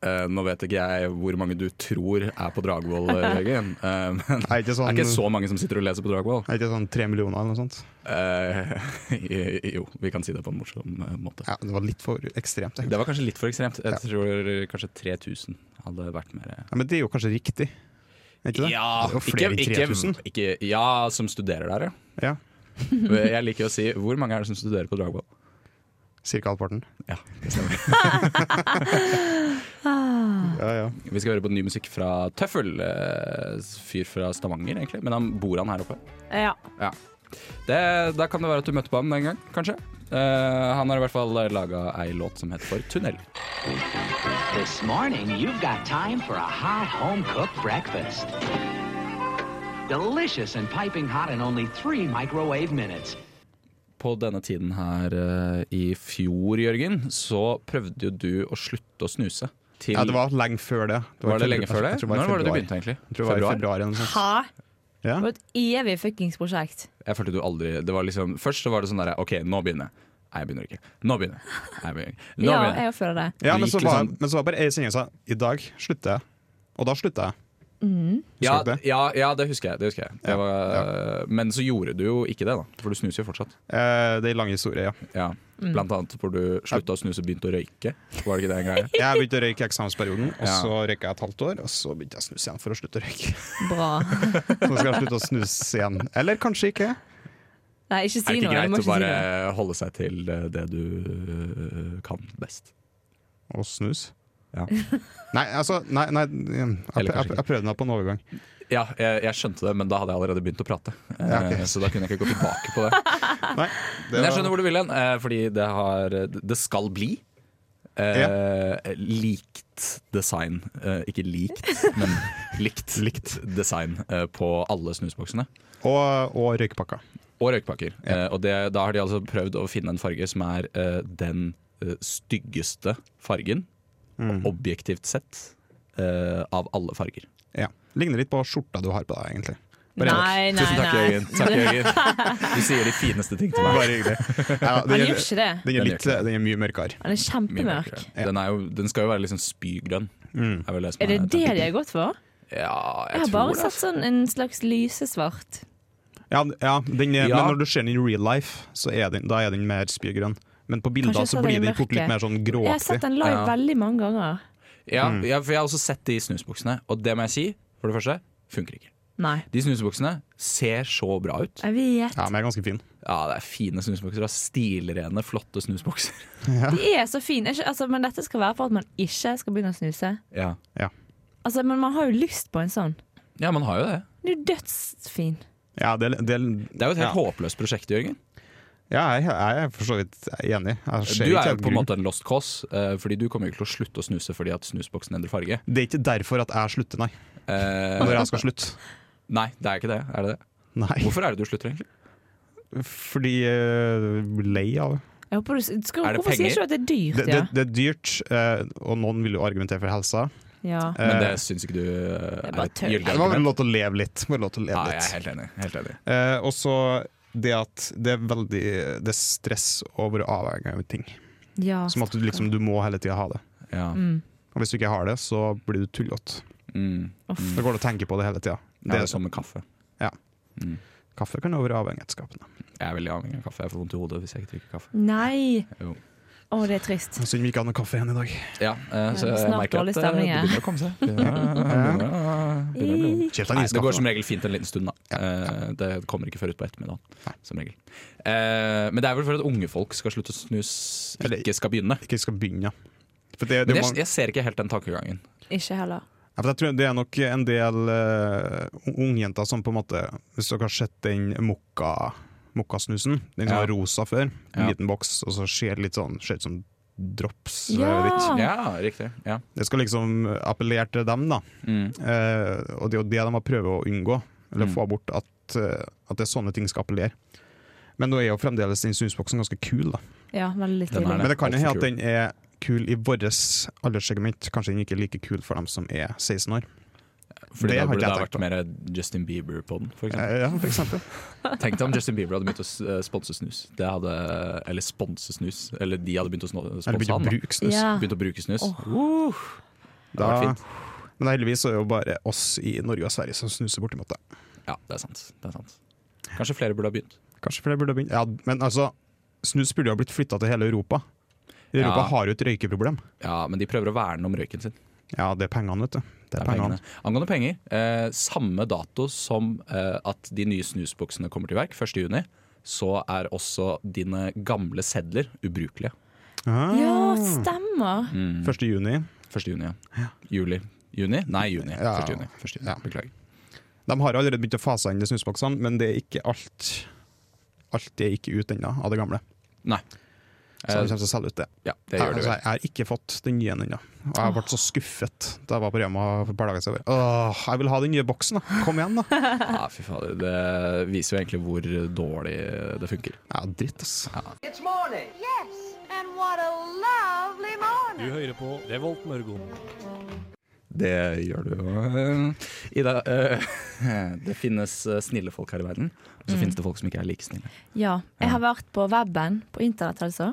Speaker 2: Eh, nå vet ikke jeg hvor mange du tror er på Dragvoll, Jørgen. eh, men
Speaker 7: Er ikke
Speaker 2: det
Speaker 7: sånn,
Speaker 2: er ikke så mange som sitter og leser på Dragvoll.
Speaker 7: er ikke sånn 3 millioner eller noe sånt?
Speaker 2: Eh, jo, vi kan si det på en morsom eh, måte.
Speaker 7: Ja, det var litt for ekstremt. egentlig.
Speaker 2: Det var kanskje litt for ekstremt. Jeg
Speaker 7: Ja.
Speaker 2: tror kanskje 3000 hadde vært mer eh,
Speaker 7: Ja, men det er jo kanskje riktig? Er ikke det? det er jo flere enn 3000.
Speaker 2: ikke, ikke, ja, som studerer der, ja.
Speaker 7: Ja, Mhm.
Speaker 2: Jeg liker å si hvor mange er det som studerer på Dragvoll?
Speaker 7: Cirka halvparten.
Speaker 2: Ja, det stemmer.
Speaker 7: Ja, ja.
Speaker 2: Vi skal høre på ny musikk fra Tøffel. eh, Fyr fra Stavanger, egentlig. Men han bor han her oppe.
Speaker 6: Ja.
Speaker 2: Ja. Det, da kan det være at du møtte på ham den gang, kanskje. Eh, han har i hvert fall laga ei låt som heter for Tunnel.
Speaker 9: This morning, you've got time for a hot home cooked breakfast. Delicious and piping hot in only three microwave minutes.
Speaker 2: På denne tiden her eh, i fjor, Jørgen, så prøvde jo du å slutte å snuse. Til,
Speaker 7: ja, det var lenge før det. det
Speaker 2: var det
Speaker 7: i
Speaker 2: lenge
Speaker 7: februar-
Speaker 2: før det?
Speaker 7: jeg tror i
Speaker 2: Når var det du
Speaker 7: februar.
Speaker 2: begynte, egentlig?
Speaker 7: Jeg tror det var i
Speaker 2: Februar?
Speaker 7: februar eller noe sånt.
Speaker 6: Ha?
Speaker 7: Ja.
Speaker 6: Det var et evig fuckings prosjekt.
Speaker 2: Jeg følte du aldri det var liksom, Først så var det sånn derre OK, nå begynner jeg. Nei, jeg begynner ikke. Nå begynner jeg. Nei, jeg begynner ikke. Nå
Speaker 6: Ja,
Speaker 2: begynner jeg.
Speaker 6: jeg føler det.
Speaker 2: Du
Speaker 7: Ja, men,
Speaker 2: gikk
Speaker 7: så var,
Speaker 2: liksom-
Speaker 7: men så var bare ei sending som sa i dag slutter jeg. Og da slutta jeg.
Speaker 2: Ja,
Speaker 7: Husker du det?
Speaker 2: ja, ja, det husker jeg. Det husker jeg. Det
Speaker 7: Ja,
Speaker 2: var, Men så gjorde du jo ikke det, da. For du snuser jo fortsatt.
Speaker 7: Eh, det er en lang historie, ja.
Speaker 2: Ja.
Speaker 6: Mm.
Speaker 2: Blant annet hvor du slutta å snuse og begynte å røyke. Var det ikke det en greie?
Speaker 7: Jeg begynte å røyke i eksamensperioden, og
Speaker 2: Ja.
Speaker 7: så røyka jeg et halvt år. Og så begynte jeg å snuse igjen for å slutte å røyke.
Speaker 6: Bra.
Speaker 7: Så skal jeg slutte å snuse igjen. Eller kanskje ikke.
Speaker 6: Nei, ikke
Speaker 2: Er
Speaker 6: si
Speaker 2: det ikke
Speaker 6: noe. Du må
Speaker 2: greit å
Speaker 6: ikke si
Speaker 2: bare
Speaker 6: noe.
Speaker 2: holde seg til eh, det du eh, kan best?
Speaker 7: Og snus.
Speaker 2: Ja.
Speaker 7: Nei, altså Nei, nei jeg, jeg,
Speaker 2: Eller kanskje
Speaker 7: jeg, jeg prøvde meg på en overgang.
Speaker 2: Ja, jeg, jeg skjønte det, men da hadde jeg allerede begynt å prate.
Speaker 7: Ja, ok.
Speaker 2: Eh, Så da kunne jeg ikke gå tilbake på det.
Speaker 7: Nei, det
Speaker 2: Men jeg
Speaker 7: var-
Speaker 2: skjønner hvor du vil hen, eh, fordi det, har, det skal bli eh, likt design. Eh, ikke likt, men likt, likt design eh, på alle snusboksene.
Speaker 7: Og, og røykpakka.
Speaker 2: Og røykpakker. Eh, og det, da har de altså prøvd å finne en farge som er eh, den eh, styggeste fargen, objektivt sett, eh, av alle farger.
Speaker 7: Ja. Ligner litt på skjorta du har på deg, egentlig.
Speaker 6: Nei, nei,
Speaker 2: Tusen takk,
Speaker 6: nei.
Speaker 2: Jørgen. Takk, Jørgen. Du sier de fineste ting til meg.
Speaker 7: Bare hyggelig. Ja,
Speaker 6: Han
Speaker 7: den,
Speaker 6: gjør
Speaker 7: er,
Speaker 6: ikke det.
Speaker 7: den,
Speaker 2: Den
Speaker 7: er
Speaker 2: gjør
Speaker 7: litt,
Speaker 2: ikke det.
Speaker 7: den er mye mørkere.
Speaker 6: Han er
Speaker 2: Mye
Speaker 6: kjempemørk.
Speaker 2: mørkere. Den, er jo, den skal jo være liksom spygrønn. Er, vel som
Speaker 6: Er det det de har gått for?
Speaker 2: Ja, jeg,
Speaker 6: Jeg har
Speaker 2: tror
Speaker 6: bare
Speaker 2: det.
Speaker 6: sett sånn en slags lysesvart.
Speaker 7: Ja, ja, den er,
Speaker 2: Ja.
Speaker 7: Men når du ser den i real life, så er den, da er den mer spygrønn. Men på bilder
Speaker 6: Kanskje
Speaker 7: så
Speaker 6: så
Speaker 7: blir
Speaker 6: den
Speaker 7: den fort
Speaker 6: mørke.
Speaker 7: litt mer sånn
Speaker 6: Jeg har sett
Speaker 7: gråaktig.
Speaker 6: den live
Speaker 2: Ja.
Speaker 6: veldig mange ganger.
Speaker 2: Ja, ja, for jeg har også sett de snusboksene, og det må jeg si, for det første, funker ikke.
Speaker 6: Nei.
Speaker 2: De snusboksene ser så bra ut.
Speaker 6: Jeg vet.
Speaker 7: Ja, men jeg er ganske fin.
Speaker 2: Ja, det er fine snusbokser. da. Stilrene, flotte snusbokser.
Speaker 6: De er så fine. Ikke- Altså, men dette skal være for at man ikke skal begynne å snuse.
Speaker 2: Ja.
Speaker 6: Altså, men man har jo lyst på en sånn.
Speaker 2: ja, man har jo det.
Speaker 6: Den er jo dødsfin.
Speaker 7: Ja, det, er- det, er-
Speaker 2: Det er jo et helt
Speaker 7: ja.
Speaker 2: håpløst prosjekt, Jørgen.
Speaker 7: ja, jeg, jeg er for så vidt enig. Jeg
Speaker 2: Du
Speaker 7: ser ikke
Speaker 2: er jo
Speaker 7: helt
Speaker 2: på en
Speaker 7: grunn.
Speaker 2: måte en lost cause, eh, fordi du kommer jo ikke til å slutte å snuse fordi at snusboksen endrer farge.
Speaker 7: Det er ikke derfor at jeg slutter, nei.
Speaker 2: Eh,
Speaker 7: Når jeg skal slutte.
Speaker 2: nei, det er ikke det. Er det det?
Speaker 7: Nei,
Speaker 2: Hvorfor er det du slutter, egentlig?
Speaker 7: fordi eh, lei av det.
Speaker 6: Jeg håper du, skal,
Speaker 2: Er det
Speaker 6: hvorfor
Speaker 2: penger?
Speaker 6: sier du ikke at det er dyrt?
Speaker 7: Det, det. det er dyrt, eh, og noen vil jo argumentere for helsa.
Speaker 6: ja? ja.
Speaker 2: Men
Speaker 7: Eh,
Speaker 2: det syns ikke du eh,
Speaker 6: er
Speaker 2: er
Speaker 6: bare
Speaker 2: et
Speaker 6: tøv.
Speaker 2: gyldig
Speaker 7: det var vel
Speaker 2: argument?
Speaker 7: lov til å leve litt. Bare lov til å leve
Speaker 2: Ja, jeg
Speaker 7: litt.
Speaker 2: er helt enig. Helt enig.
Speaker 7: Eh, og så det at det er veldig Det er stress å være avhengig av ting. Som at du liksom du må hele tida ha det.
Speaker 2: Ja.
Speaker 6: Mm.
Speaker 7: Og hvis du ikke har det, så blir du tullete.
Speaker 2: Mm.
Speaker 7: Da går det å tenke på det hele tida.
Speaker 2: Ja, det er som med kaffe. Mm.
Speaker 7: Kaffe kan jo være avhengighetsskapende.
Speaker 2: Jeg er veldig avhengig av kaffe. Jeg får vondt i hodet hvis jeg ikke drikker kaffe.
Speaker 6: Nei!
Speaker 2: Jo.
Speaker 6: Å, det er trist.
Speaker 7: Synd vi ikke har noe kaffe igjen i dag.
Speaker 2: Ja, eh, så
Speaker 6: Ja,
Speaker 2: jeg
Speaker 6: snart
Speaker 2: merker
Speaker 6: dårlig
Speaker 2: at eh,
Speaker 6: stemning,
Speaker 2: det
Speaker 6: jeg.
Speaker 2: begynner å komme seg. Begynner å- begynner å bli vondt.
Speaker 7: Kjøp deg en
Speaker 2: Nei, det
Speaker 7: iskaffe.
Speaker 2: går som
Speaker 7: da.
Speaker 2: regel fint en liten stund, da. Eh, Det kommer ikke før utpå ettermiddagen. Som regel. Eh, Men det er vel for at unge folk skal slutte å snus,
Speaker 7: Eller-
Speaker 2: ikke skal begynne.
Speaker 7: Ikke skal begynne. For det, det,
Speaker 2: Men
Speaker 7: er
Speaker 2: jeg,
Speaker 7: mange-
Speaker 2: jeg ser ikke helt den tankegangen.
Speaker 6: Ikke heller.
Speaker 7: Ja, for jeg tror det er nok en del uh, ungjenter som på en måte Hvis dere har sett den mokka mokkasnusen, den som
Speaker 2: Ja.
Speaker 7: var rosa før, en
Speaker 2: Ja.
Speaker 7: liten boks, og så ser det litt sånn ser ut som drops.
Speaker 6: Ja.
Speaker 7: jeg vet ikke.
Speaker 2: Ja, riktig. Ja.
Speaker 7: Det skal liksom appellere til dem, da.
Speaker 2: Mm.
Speaker 7: Eh, og det er jo det de har prøvd å unngå, eller
Speaker 2: Mm.
Speaker 7: få bort, at, eh, at det er sånne ting skal appellere. Men nå er jo fremdeles den snusboksen ganske kul, da.
Speaker 6: Ja, veldig
Speaker 2: Den er
Speaker 6: tidlig.
Speaker 2: det.
Speaker 7: Men det kan jo
Speaker 2: altfor
Speaker 7: hende at
Speaker 2: kul.
Speaker 7: den er kul i vårt alderssegment. Kanskje den ikke er like kul for dem som er 16 år.
Speaker 2: Fordi
Speaker 7: Det
Speaker 2: det
Speaker 7: har
Speaker 2: da
Speaker 7: ikke
Speaker 2: burde det
Speaker 7: jeg
Speaker 2: ha
Speaker 7: tenkt
Speaker 2: vært mer Justin Bieber på den. For eksempel.
Speaker 7: Eh, ja, for eksempel.
Speaker 2: Tenk deg om Justin Bieber hadde begynt å s- eh, sponse snus. Det hadde, eller sponse snus. Eller de hadde begynt å sno-
Speaker 7: Eller
Speaker 2: sponse
Speaker 7: begynne
Speaker 2: han.
Speaker 7: å Ah.
Speaker 2: da.
Speaker 7: bruke snus.
Speaker 6: Ja.
Speaker 2: Begynt å bruke snus.
Speaker 6: Åh.
Speaker 2: Det hadde
Speaker 7: Ah.
Speaker 2: vært fint.
Speaker 7: Men heldigvis er det jo bare oss i Norge og Sverige som snuser bortimot det.
Speaker 2: Ja, det er sant. Det er sant. Kanskje flere burde ha begynt.
Speaker 7: Kanskje flere burde ha begynt. Ja, men altså, snus burde jo ha blitt flytta til hele Europa. Europa
Speaker 2: Ja.
Speaker 7: har jo et røykeproblem.
Speaker 2: Ja, Men de prøver å verne om røyken sin.
Speaker 7: Ja, det er pengene, vet du. Det er pengene.
Speaker 2: Angående penger, eh, samme dato som eh, at de nye snusboksene kommer til verk, 1.6, så er også dine gamle sedler ubrukelige.
Speaker 7: Ah,
Speaker 6: Ja, stemmer.
Speaker 2: Mm.
Speaker 7: 1. juni.
Speaker 2: 1.6, ja. Juli. Juni? Nei, juni.
Speaker 7: Ja.
Speaker 2: 1. juni. 1. juni.
Speaker 7: Ja.
Speaker 2: Beklager.
Speaker 7: De har allerede begynt å fase inn de snusboksene, men det er ikke alt. Alt er ikke ut ennå av det gamle.
Speaker 2: Nei.
Speaker 7: Så de kommer til å selge ut det.
Speaker 2: Ja, det gjør
Speaker 7: jeg,
Speaker 2: det
Speaker 7: altså,
Speaker 2: vel.
Speaker 7: jeg har ikke fått den nye ennå. Og jeg ble så skuffet da jeg var på Rema for et par dager siden. Åh, jeg vil ha den nye boksen, da! Kom igjen, da!
Speaker 2: Ja, fy fader. Det viser jo egentlig hvor dårlig det funker.
Speaker 7: Ja, dritt, ass.
Speaker 3: It's morning.
Speaker 4: Yes, and what a lovely
Speaker 5: Du
Speaker 4: morning.
Speaker 5: hører på Revolt Mørgon.
Speaker 2: Det gjør du jo. Ida, eh, det finnes eh, snille folk her i verden. Og så finnes det folk som ikke er like snille.
Speaker 6: Ja. Jeg har vært på weben, på internett altså,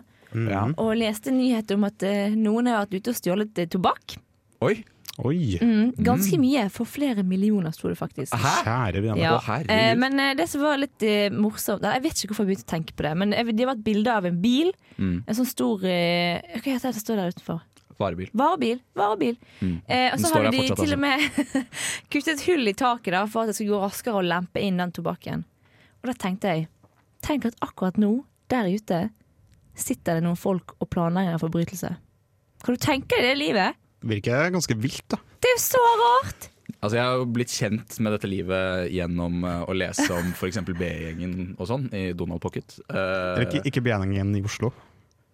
Speaker 6: og leste en nyhet om at eh, noen har vært ute og stjålet eh, tobakk.
Speaker 2: Oi!
Speaker 7: Oi!
Speaker 6: Mm, ganske mye. For flere millioner, sto det faktisk.
Speaker 7: Kjære vene.
Speaker 6: Ja.
Speaker 2: Å, herregud.
Speaker 6: eh, men eh, det som var litt eh, morsomt Nei, Jeg vet ikke hvorfor jeg begynte å tenke på det, men jeg- det var et bilde av en bil.
Speaker 2: Mm.
Speaker 6: En sånn stor eh, Hva heter det som står der utenfor?
Speaker 2: Varebil.
Speaker 6: Varebil. Varebil. Eh, og
Speaker 2: Mm. Den
Speaker 6: så
Speaker 2: står
Speaker 6: hadde
Speaker 2: der
Speaker 6: de
Speaker 2: fortsatt, altså.
Speaker 6: til og med kuttet hull i taket da, for at det skulle gå raskere å lempe inn den tobakken. Og da tenkte jeg Tenk at akkurat nå, der ute, sitter det noen folk og planlegger en forbrytelse. Kan du tenke deg det livet?
Speaker 7: Virker ganske vilt, da.
Speaker 6: Det er jo så rart!
Speaker 2: Altså, jeg har jo blitt kjent med dette livet gjennom eh, å lese om f.eks. B-gjengen og sånn i Donald Pocket. Eh,
Speaker 7: Eller ikke, ikke B-gjengen i Oslo.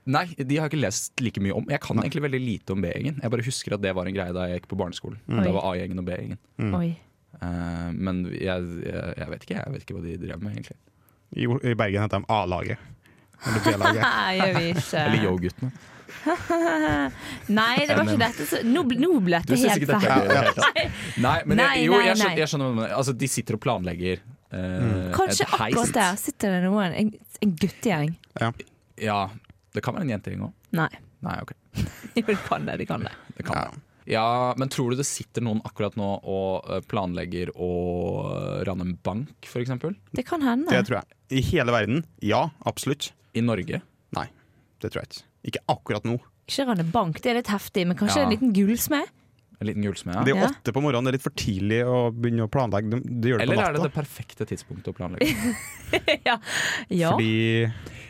Speaker 2: Nei, de har jeg ikke lest like mye om. Jeg kan egentlig veldig lite om B-gjengen. Jeg bare husker at det var en greie da jeg gikk på barneskolen. Da var A-gjengen og B-gjengen.
Speaker 6: Oi.
Speaker 2: Eh, men jeg, jeg, jeg vet ikke jeg vet ikke hva de drev med, egentlig.
Speaker 7: I, O- i Bergen heter de A-laget. Eller B-laget.
Speaker 6: Nei, gjør vi ikke.
Speaker 2: Eller Yo-guttene.
Speaker 6: Nei, det var ikke dette så, Nå, ble- nå ble
Speaker 2: Du
Speaker 6: det
Speaker 2: syns
Speaker 6: helt
Speaker 2: ikke dette er
Speaker 6: feil.
Speaker 2: gøy? i det hele tatt? Nei, men
Speaker 6: Nei,
Speaker 2: jeg, jo,
Speaker 6: nei,
Speaker 2: jeg
Speaker 6: nei.
Speaker 2: skjønner, jeg skjønner hva du mener. Altså, de sitter og planlegger eh,
Speaker 6: Kanskje
Speaker 2: et heist.
Speaker 6: akkurat der sitter det noen, en, en guttegjeng.
Speaker 2: Ja, det kan være en jentegjeng òg.
Speaker 6: Nei.
Speaker 2: Nei, ok.
Speaker 6: Jo, det kan det. det kan det
Speaker 2: Det kan det. Ja, men tror du det sitter noen akkurat nå og eh, planlegger å eh, rane en bank, f.eks.?
Speaker 6: Det kan hende.
Speaker 7: Det tror jeg. I hele verden? Ja, absolutt.
Speaker 2: I Norge?
Speaker 7: Nei, det tror jeg ikke. Ikke akkurat nå.
Speaker 6: Ikke rane bank, det er litt heftig, men
Speaker 2: Ja.
Speaker 6: kanskje en liten gullsmed?
Speaker 2: En liten gullsmed? Ja.
Speaker 7: Det er jo
Speaker 6: Ja.
Speaker 7: åtte på morgenen, det er litt for tidlig å begynne å planlegge. De, de gjør det
Speaker 2: Eller
Speaker 7: på
Speaker 2: er det
Speaker 7: natta.
Speaker 2: det perfekte tidspunktet å planlegge?
Speaker 6: ja. ja.
Speaker 7: Fordi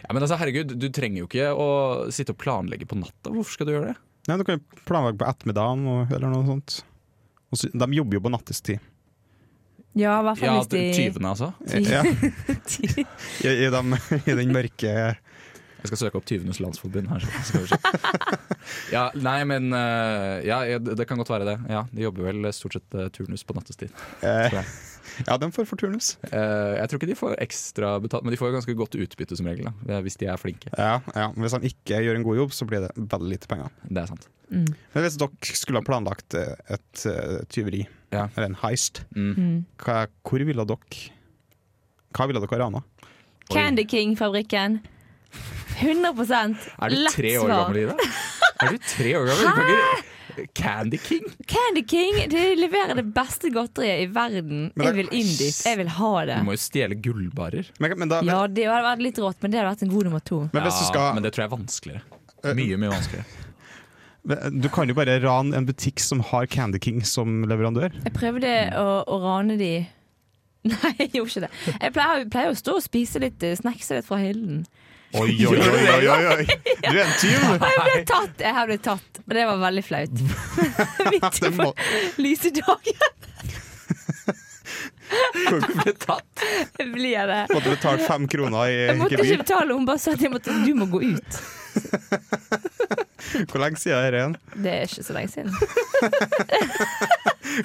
Speaker 2: Ja, men altså, herregud, Du trenger jo ikke å sitte og planlegge på natta. Hvorfor skal du gjøre det?
Speaker 7: Nei, du kan jo planlegge på ettermiddagen og, eller noe sånt. Og så, de jobber jo på nattestid.
Speaker 6: Ja, i hvert fall
Speaker 2: Ja,
Speaker 6: hvis de
Speaker 2: Tyvene, altså.
Speaker 7: Ja. I, i, dem- I den mørke
Speaker 2: Jeg skal søke opp Tyvenes Landsforbund her. så Skal vi se. Ja, nei, men eh, Ja, ja, det det kan godt være det. Ja, De jobber vel stort sett eh, turnus på nattestid.
Speaker 7: eh,
Speaker 2: Tror jeg.
Speaker 7: Ja, de får for turnus.
Speaker 2: Eh, jeg tror ikke de får ekstra betalt, men de får jo ganske godt utbytte som regel, da, hvis de er flinke.
Speaker 7: Ja, ja. men Hvis de ikke gjør en god jobb, så blir det veldig lite penger.
Speaker 2: Det er sant.
Speaker 7: Men hvis dere skulle ha planlagt eh, et eh, tyveri,
Speaker 2: Ja.
Speaker 7: eller en heist,
Speaker 2: Mm.
Speaker 7: hva, hvor ville dere Hva ville dere rana?
Speaker 6: Candy King-fabrikken. 100 Lett svar.
Speaker 2: Er du tre år gammel, Ida? Er du tre år gammel? Du kan ikke Candy King?
Speaker 6: Candy King de leverer det beste godteriet i verden.
Speaker 7: Men
Speaker 6: Jeg
Speaker 7: det-
Speaker 6: vil inn dit. Jeg vil ha det.
Speaker 2: Du må jo stjele gullbarer.
Speaker 7: Men, men, da, men,
Speaker 6: Ja, det hadde vært litt rått, men det hadde vært en god nummer to.
Speaker 7: men hvis du
Speaker 2: Ja,
Speaker 7: skal
Speaker 2: men det tror jeg er vanskeligere. Mye, mye vanskeligere.
Speaker 7: men Du kan jo bare rane en butikk som har Candy King som leverandør.
Speaker 6: Jeg prøvde å, å rane de Nei, jeg gjorde ikke det. Jeg pleier, jeg pleier å stå og spise litt eh, snacks litt fra hyllen.
Speaker 7: Oi, oi, oi, oi, oi, oi. Du er en tyv! du.
Speaker 6: Og jeg ble tatt! Jeg her ble tatt, og det var veldig flaut. Midt
Speaker 7: Det
Speaker 6: på
Speaker 7: må-
Speaker 6: lyse dagen
Speaker 2: Kan ikke bli tatt.
Speaker 6: blir det.
Speaker 7: Måtte betale fem kroner
Speaker 6: Jeg
Speaker 7: i
Speaker 6: måtte ikke
Speaker 7: gebyr.
Speaker 6: betale, hun bare sa at jeg måtte, du må gå ut.
Speaker 7: Hvor lenge siden er det igjen?
Speaker 6: Det er ikke så lenge siden.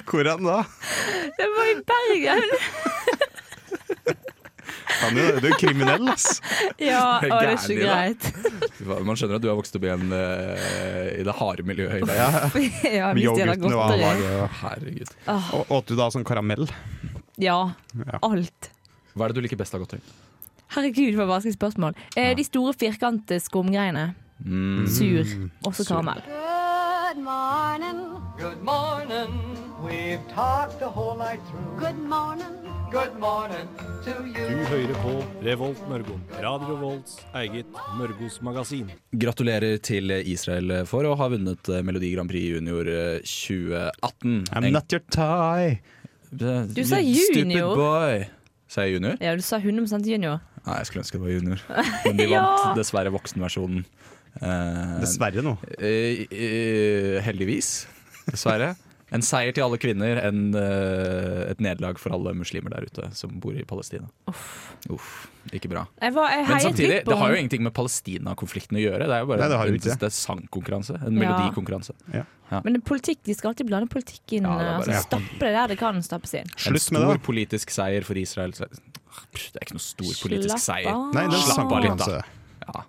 Speaker 7: Hvor enn da?
Speaker 6: Det var i Bergen!
Speaker 7: Faen, du du er jo kriminell, ass.
Speaker 6: Ja,
Speaker 2: Det er
Speaker 6: og det er ikke
Speaker 2: gærlig,
Speaker 6: greit.
Speaker 2: Man skjønner at du har vokst opp i, en, eh, i det harde miljøet. i det.
Speaker 6: Ja, vi stjeler
Speaker 7: Yoghurten var
Speaker 6: godteri.
Speaker 7: var-
Speaker 2: Herregud.
Speaker 7: Og Åt du da sånn karamell?
Speaker 6: Ja,
Speaker 7: Ja.
Speaker 6: alt.
Speaker 2: Hva er det du liker best av godtøy?
Speaker 6: Herregud, for vanskelig spørsmål. Eh, de store firkante skumgreiene.
Speaker 2: Mm.
Speaker 6: Sur. Også karamell.
Speaker 4: Good morning.
Speaker 3: Good morning. We've talked the whole night through.
Speaker 4: Good morning.
Speaker 3: Good morning to
Speaker 5: Du
Speaker 3: you.
Speaker 5: hører på Revolt Mørgon. Radio Revolts eget Mørgos magasin.
Speaker 2: Gratulerer til Israel for å ha vunnet eh, Melodi Grand Prix Junior eh, 2018.
Speaker 7: I'm not your tie.
Speaker 2: Du
Speaker 6: sa junior.
Speaker 2: Stupid boy. Sa jeg junior?
Speaker 6: Ja, du sa 100 junior.
Speaker 2: Nei, jeg skulle ønske det var junior. Men de
Speaker 6: Ja.
Speaker 2: vant dessverre voksenversjonen. Eh,
Speaker 7: Dessverre nå.
Speaker 2: eh, eh, heldigvis. Dessverre. En seier til alle kvinner, en, eh, et nederlag for alle muslimer der ute som bor i Palestina. Uff, ikke bra.
Speaker 6: Jeg, var, jeg
Speaker 2: Men
Speaker 6: heiet
Speaker 2: samtidig,
Speaker 6: litt på
Speaker 2: det har jo
Speaker 6: han.
Speaker 2: ingenting med Palestina-konflikten å gjøre. Det er jo bare
Speaker 7: Nei, det har jo
Speaker 2: en,
Speaker 7: ikke det.
Speaker 2: det er sangkonkurranse. En
Speaker 6: Ja.
Speaker 2: melodikonkurranse.
Speaker 6: Men det er politikk, de skal alltid blande politikk inn.
Speaker 2: Ja, det er
Speaker 6: altså,
Speaker 2: bare- Ja.
Speaker 6: Stappe det der det kan stappes inn.
Speaker 2: En
Speaker 7: Slutt med
Speaker 2: stor
Speaker 7: det.
Speaker 2: politisk seier for Israel. Så- Pff, Det er ikke noe stor politisk
Speaker 6: Slapp
Speaker 2: seier.
Speaker 6: av.
Speaker 7: Nei, det er
Speaker 2: Slapp av litt, da.
Speaker 7: sangkonkurranse.
Speaker 2: Ja,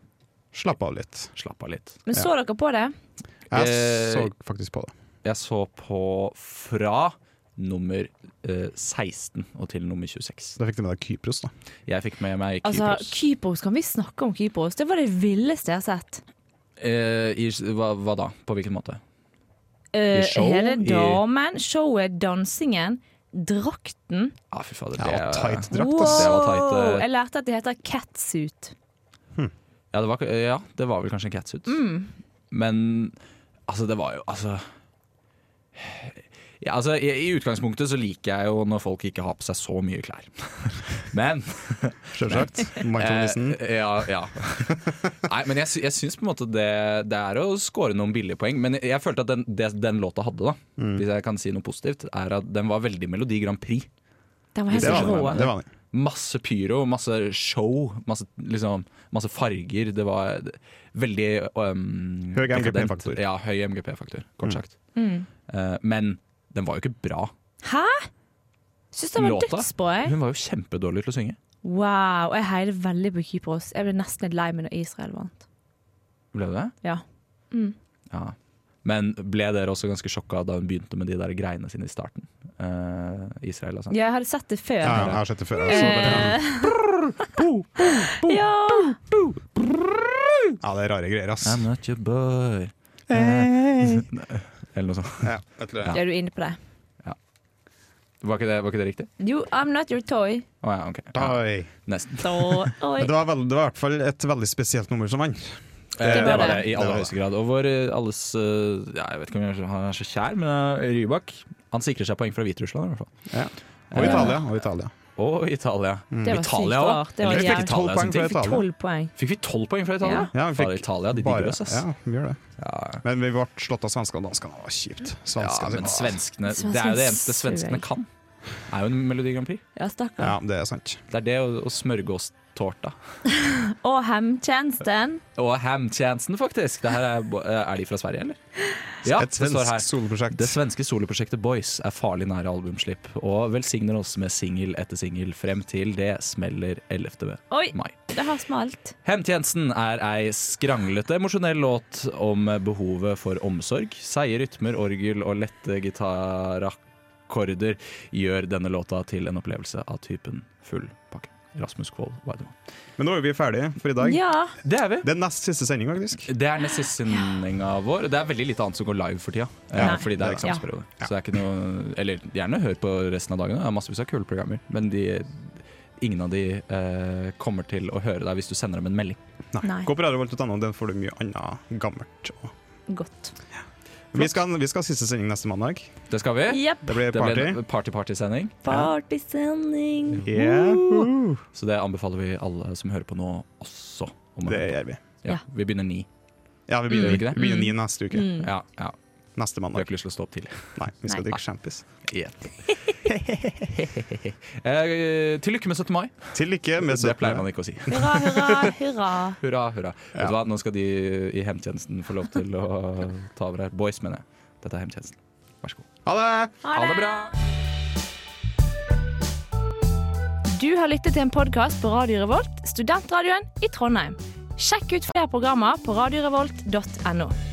Speaker 7: Slapp av litt.
Speaker 2: slapp av litt.
Speaker 6: Men så dere på det?
Speaker 7: Jeg
Speaker 2: Eh,
Speaker 7: så faktisk på det.
Speaker 2: Jeg så på fra nummer eh, 16 og til nummer 26.
Speaker 7: Da fikk du med deg Kypros, da.
Speaker 2: Jeg fikk med meg
Speaker 6: Altså,
Speaker 2: Kypros.
Speaker 6: Kypros, kan vi snakke om Kypros? Det var det villeste jeg har sett.
Speaker 2: Eh, i, hva, hva da? På hvilken måte?
Speaker 6: Eh,
Speaker 2: show,
Speaker 6: hele
Speaker 2: i-
Speaker 6: damen, showet, dansingen, drakten.
Speaker 2: Ah, fy fader, det,
Speaker 7: Ja, og tight drakt,
Speaker 6: Wow!
Speaker 7: ass.
Speaker 2: Det var tight, eh.
Speaker 6: Jeg lærte at det heter catsuit.
Speaker 2: ja, det var, ja, det var vel kanskje en catsuit. Men altså, det var jo Altså. Ja, altså i, I utgangspunktet så liker jeg jo når folk ikke har på seg så mye klær. Men
Speaker 7: Selvsagt. Michael Nissen.
Speaker 2: Eh, ja, ja. Nei, men jeg, sy- jeg syns på en måte det, det er å score noen billige poeng. Men jeg, jeg følte at den, det den låta hadde, da, hvis jeg kan si noe positivt, er at den var veldig Melodi Grand Prix.
Speaker 6: Den var helt
Speaker 7: Det var
Speaker 6: rå.
Speaker 7: det. det, var det.
Speaker 2: Masse pyro, masse show, masse, liksom, masse farger. Det var veldig um,
Speaker 7: Høy
Speaker 2: dekadent.
Speaker 7: MGP-faktor.
Speaker 2: Ja, høy MGP-faktor, kort sagt. Eh, men den var jo ikke bra.
Speaker 6: Hæ? Syns den var
Speaker 2: Låta?
Speaker 6: dødsbra. jeg.
Speaker 2: Hun var jo kjempedårlig til å synge.
Speaker 6: Wow, jeg heier veldig på Kypros. Jeg ble nesten litt lei meg når Israel vant.
Speaker 2: Ble du det?
Speaker 6: Ja.
Speaker 2: Ja. Men ble dere også ganske sjokka da hun begynte med de der greiene sine i starten? Eh, Israel og sånn.
Speaker 6: Jeg hadde sett det før.
Speaker 7: Ja, jeg har sett det før. altså. Jeg så
Speaker 6: Eh.
Speaker 7: det.
Speaker 6: Ja.
Speaker 7: Ja, det er rare greier, ass.
Speaker 2: I'm not your boy. Eller noe sånt.
Speaker 7: Ja, vet du det.
Speaker 6: Er du inne på det?
Speaker 2: Var ikke det, var ikke det riktig?
Speaker 6: You, I'm not your toy.
Speaker 2: Å ja, ok. Ja,
Speaker 7: Oi.
Speaker 2: nesten.
Speaker 6: Toy.
Speaker 7: Men Det var, vel, det var i hvert fall et veldig spesielt nummer som vant.
Speaker 2: Eh,
Speaker 6: Det
Speaker 2: det
Speaker 6: var
Speaker 2: var det,
Speaker 6: det.
Speaker 2: i
Speaker 7: Det
Speaker 2: aller
Speaker 7: var
Speaker 2: høyeste grad. Og vår eh, alles eh, ja, Jeg vet ikke om jeg- han er så kjær, men eh, Rybak Han sikrer seg poeng fra Hviterussland, i hvert fall. Eh,
Speaker 7: Og Italia. Og Italia.
Speaker 2: Og Italia.
Speaker 6: Det var
Speaker 2: Italia
Speaker 6: Mm. sykt
Speaker 2: også.
Speaker 6: rart. Det var
Speaker 2: Eller
Speaker 6: jævlig-
Speaker 2: fikk Italia
Speaker 7: Tolv poeng
Speaker 2: sin ting.
Speaker 7: fra Italia.
Speaker 6: Tolv poeng.
Speaker 2: Fikk vi tolv poeng fra Italia?
Speaker 7: Ja,
Speaker 2: Bare
Speaker 7: vi fikk
Speaker 2: Italia, de
Speaker 7: bare-
Speaker 2: digger oss, ass.
Speaker 7: Ja, vi gjør det.
Speaker 2: Ja.
Speaker 7: Men vi ble slått av svenskene. Danskene det var kjipt.
Speaker 2: Ja,
Speaker 7: Svenskene
Speaker 2: men svenskene
Speaker 6: Svenskene
Speaker 2: Det er jo det eneste
Speaker 6: suger.
Speaker 2: svenskene kan. Er jo en Melodi Grand Prix.
Speaker 6: Ja, stakkar.
Speaker 7: Ja, det er sant.
Speaker 2: Det er det og, og smørgåstårta.
Speaker 6: Og hemtjenesten.
Speaker 2: Og hamtjenesten, faktisk! Det her er, bo- eh, er de fra Sverige, eller? Ja,
Speaker 7: Et
Speaker 2: det står
Speaker 7: svensk
Speaker 2: her.
Speaker 7: soloprosjekt.
Speaker 2: Det svenske soloprosjektet Boys er farlig nære albumslipp, og velsigner oss med singel etter singel frem til det smeller 11.
Speaker 6: Oi,
Speaker 2: mai.
Speaker 6: det har smalt.
Speaker 2: Hemtjenesten er ei skranglete, emosjonell låt om behovet for omsorg. Seige rytmer, orgel og lette gitarakkorder gjør denne låta til en opplevelse av typen full pakke. Rasmus Kvål Weidemann.
Speaker 7: Men nå er vi ferdige for i dag.
Speaker 6: Ja.
Speaker 2: Det er vi!
Speaker 7: Det er nest siste sending, faktisk.
Speaker 2: Det er nest siste sendinga vår. Det er veldig lite annet som går live for tida. eh,
Speaker 6: Nei.
Speaker 2: fordi det er
Speaker 6: Det er sant.
Speaker 2: eksamensperiode. Så det er ikke noe Eller gjerne hør på resten av dagene. Det er massevis av kule programmer. Men de, ingen av de eh, kommer til å høre deg hvis du sender dem en melding.
Speaker 7: Nei.
Speaker 6: Nei.
Speaker 7: Gå på radiovolt.no, den får du mye annet gammelt. og-
Speaker 6: Godt.
Speaker 7: Vi skal, vi skal ha siste sending neste mandag.
Speaker 2: Det skal vi.
Speaker 6: Jepp.
Speaker 7: Det blir
Speaker 2: Det blir en
Speaker 7: party.
Speaker 2: party-party-sending.
Speaker 6: Partysending.
Speaker 7: Yeah.
Speaker 2: Så det anbefaler vi alle som hører på nå også. om å
Speaker 7: Det
Speaker 2: høre på.
Speaker 7: gjør vi.
Speaker 2: Ja,
Speaker 6: Ja.
Speaker 2: vi begynner ni.
Speaker 7: Ja, vi
Speaker 2: Mm,
Speaker 7: begynner,
Speaker 2: Gjør vi ikke det?
Speaker 7: vi begynner ni neste uke.
Speaker 6: Mm.
Speaker 2: Ja, ja.
Speaker 7: Neste
Speaker 2: Vi har
Speaker 7: mandag.
Speaker 2: ikke lyst til å stå opp tidlig.
Speaker 7: Nei, vi skal
Speaker 6: Nei.
Speaker 7: drikke champis.
Speaker 2: Eh, til lykke med 17. mai.
Speaker 7: Til lykke med
Speaker 2: Det pleier
Speaker 7: 17.
Speaker 2: man ikke å si.
Speaker 6: Hurra, hurra, hurra.
Speaker 2: Hurra, hurra. Vet du hva, Nå skal de i hjemtjenesten få lov til å ta over her. Boys, mener jeg. Dette er hjemtjenesten. Vær så god.
Speaker 7: Ha det!
Speaker 2: Ha det bra!
Speaker 6: Du har lyttet til en podkast på Radio Revolt, studentradioen i Trondheim. Sjekk ut flere programmer på radiorevolt.no.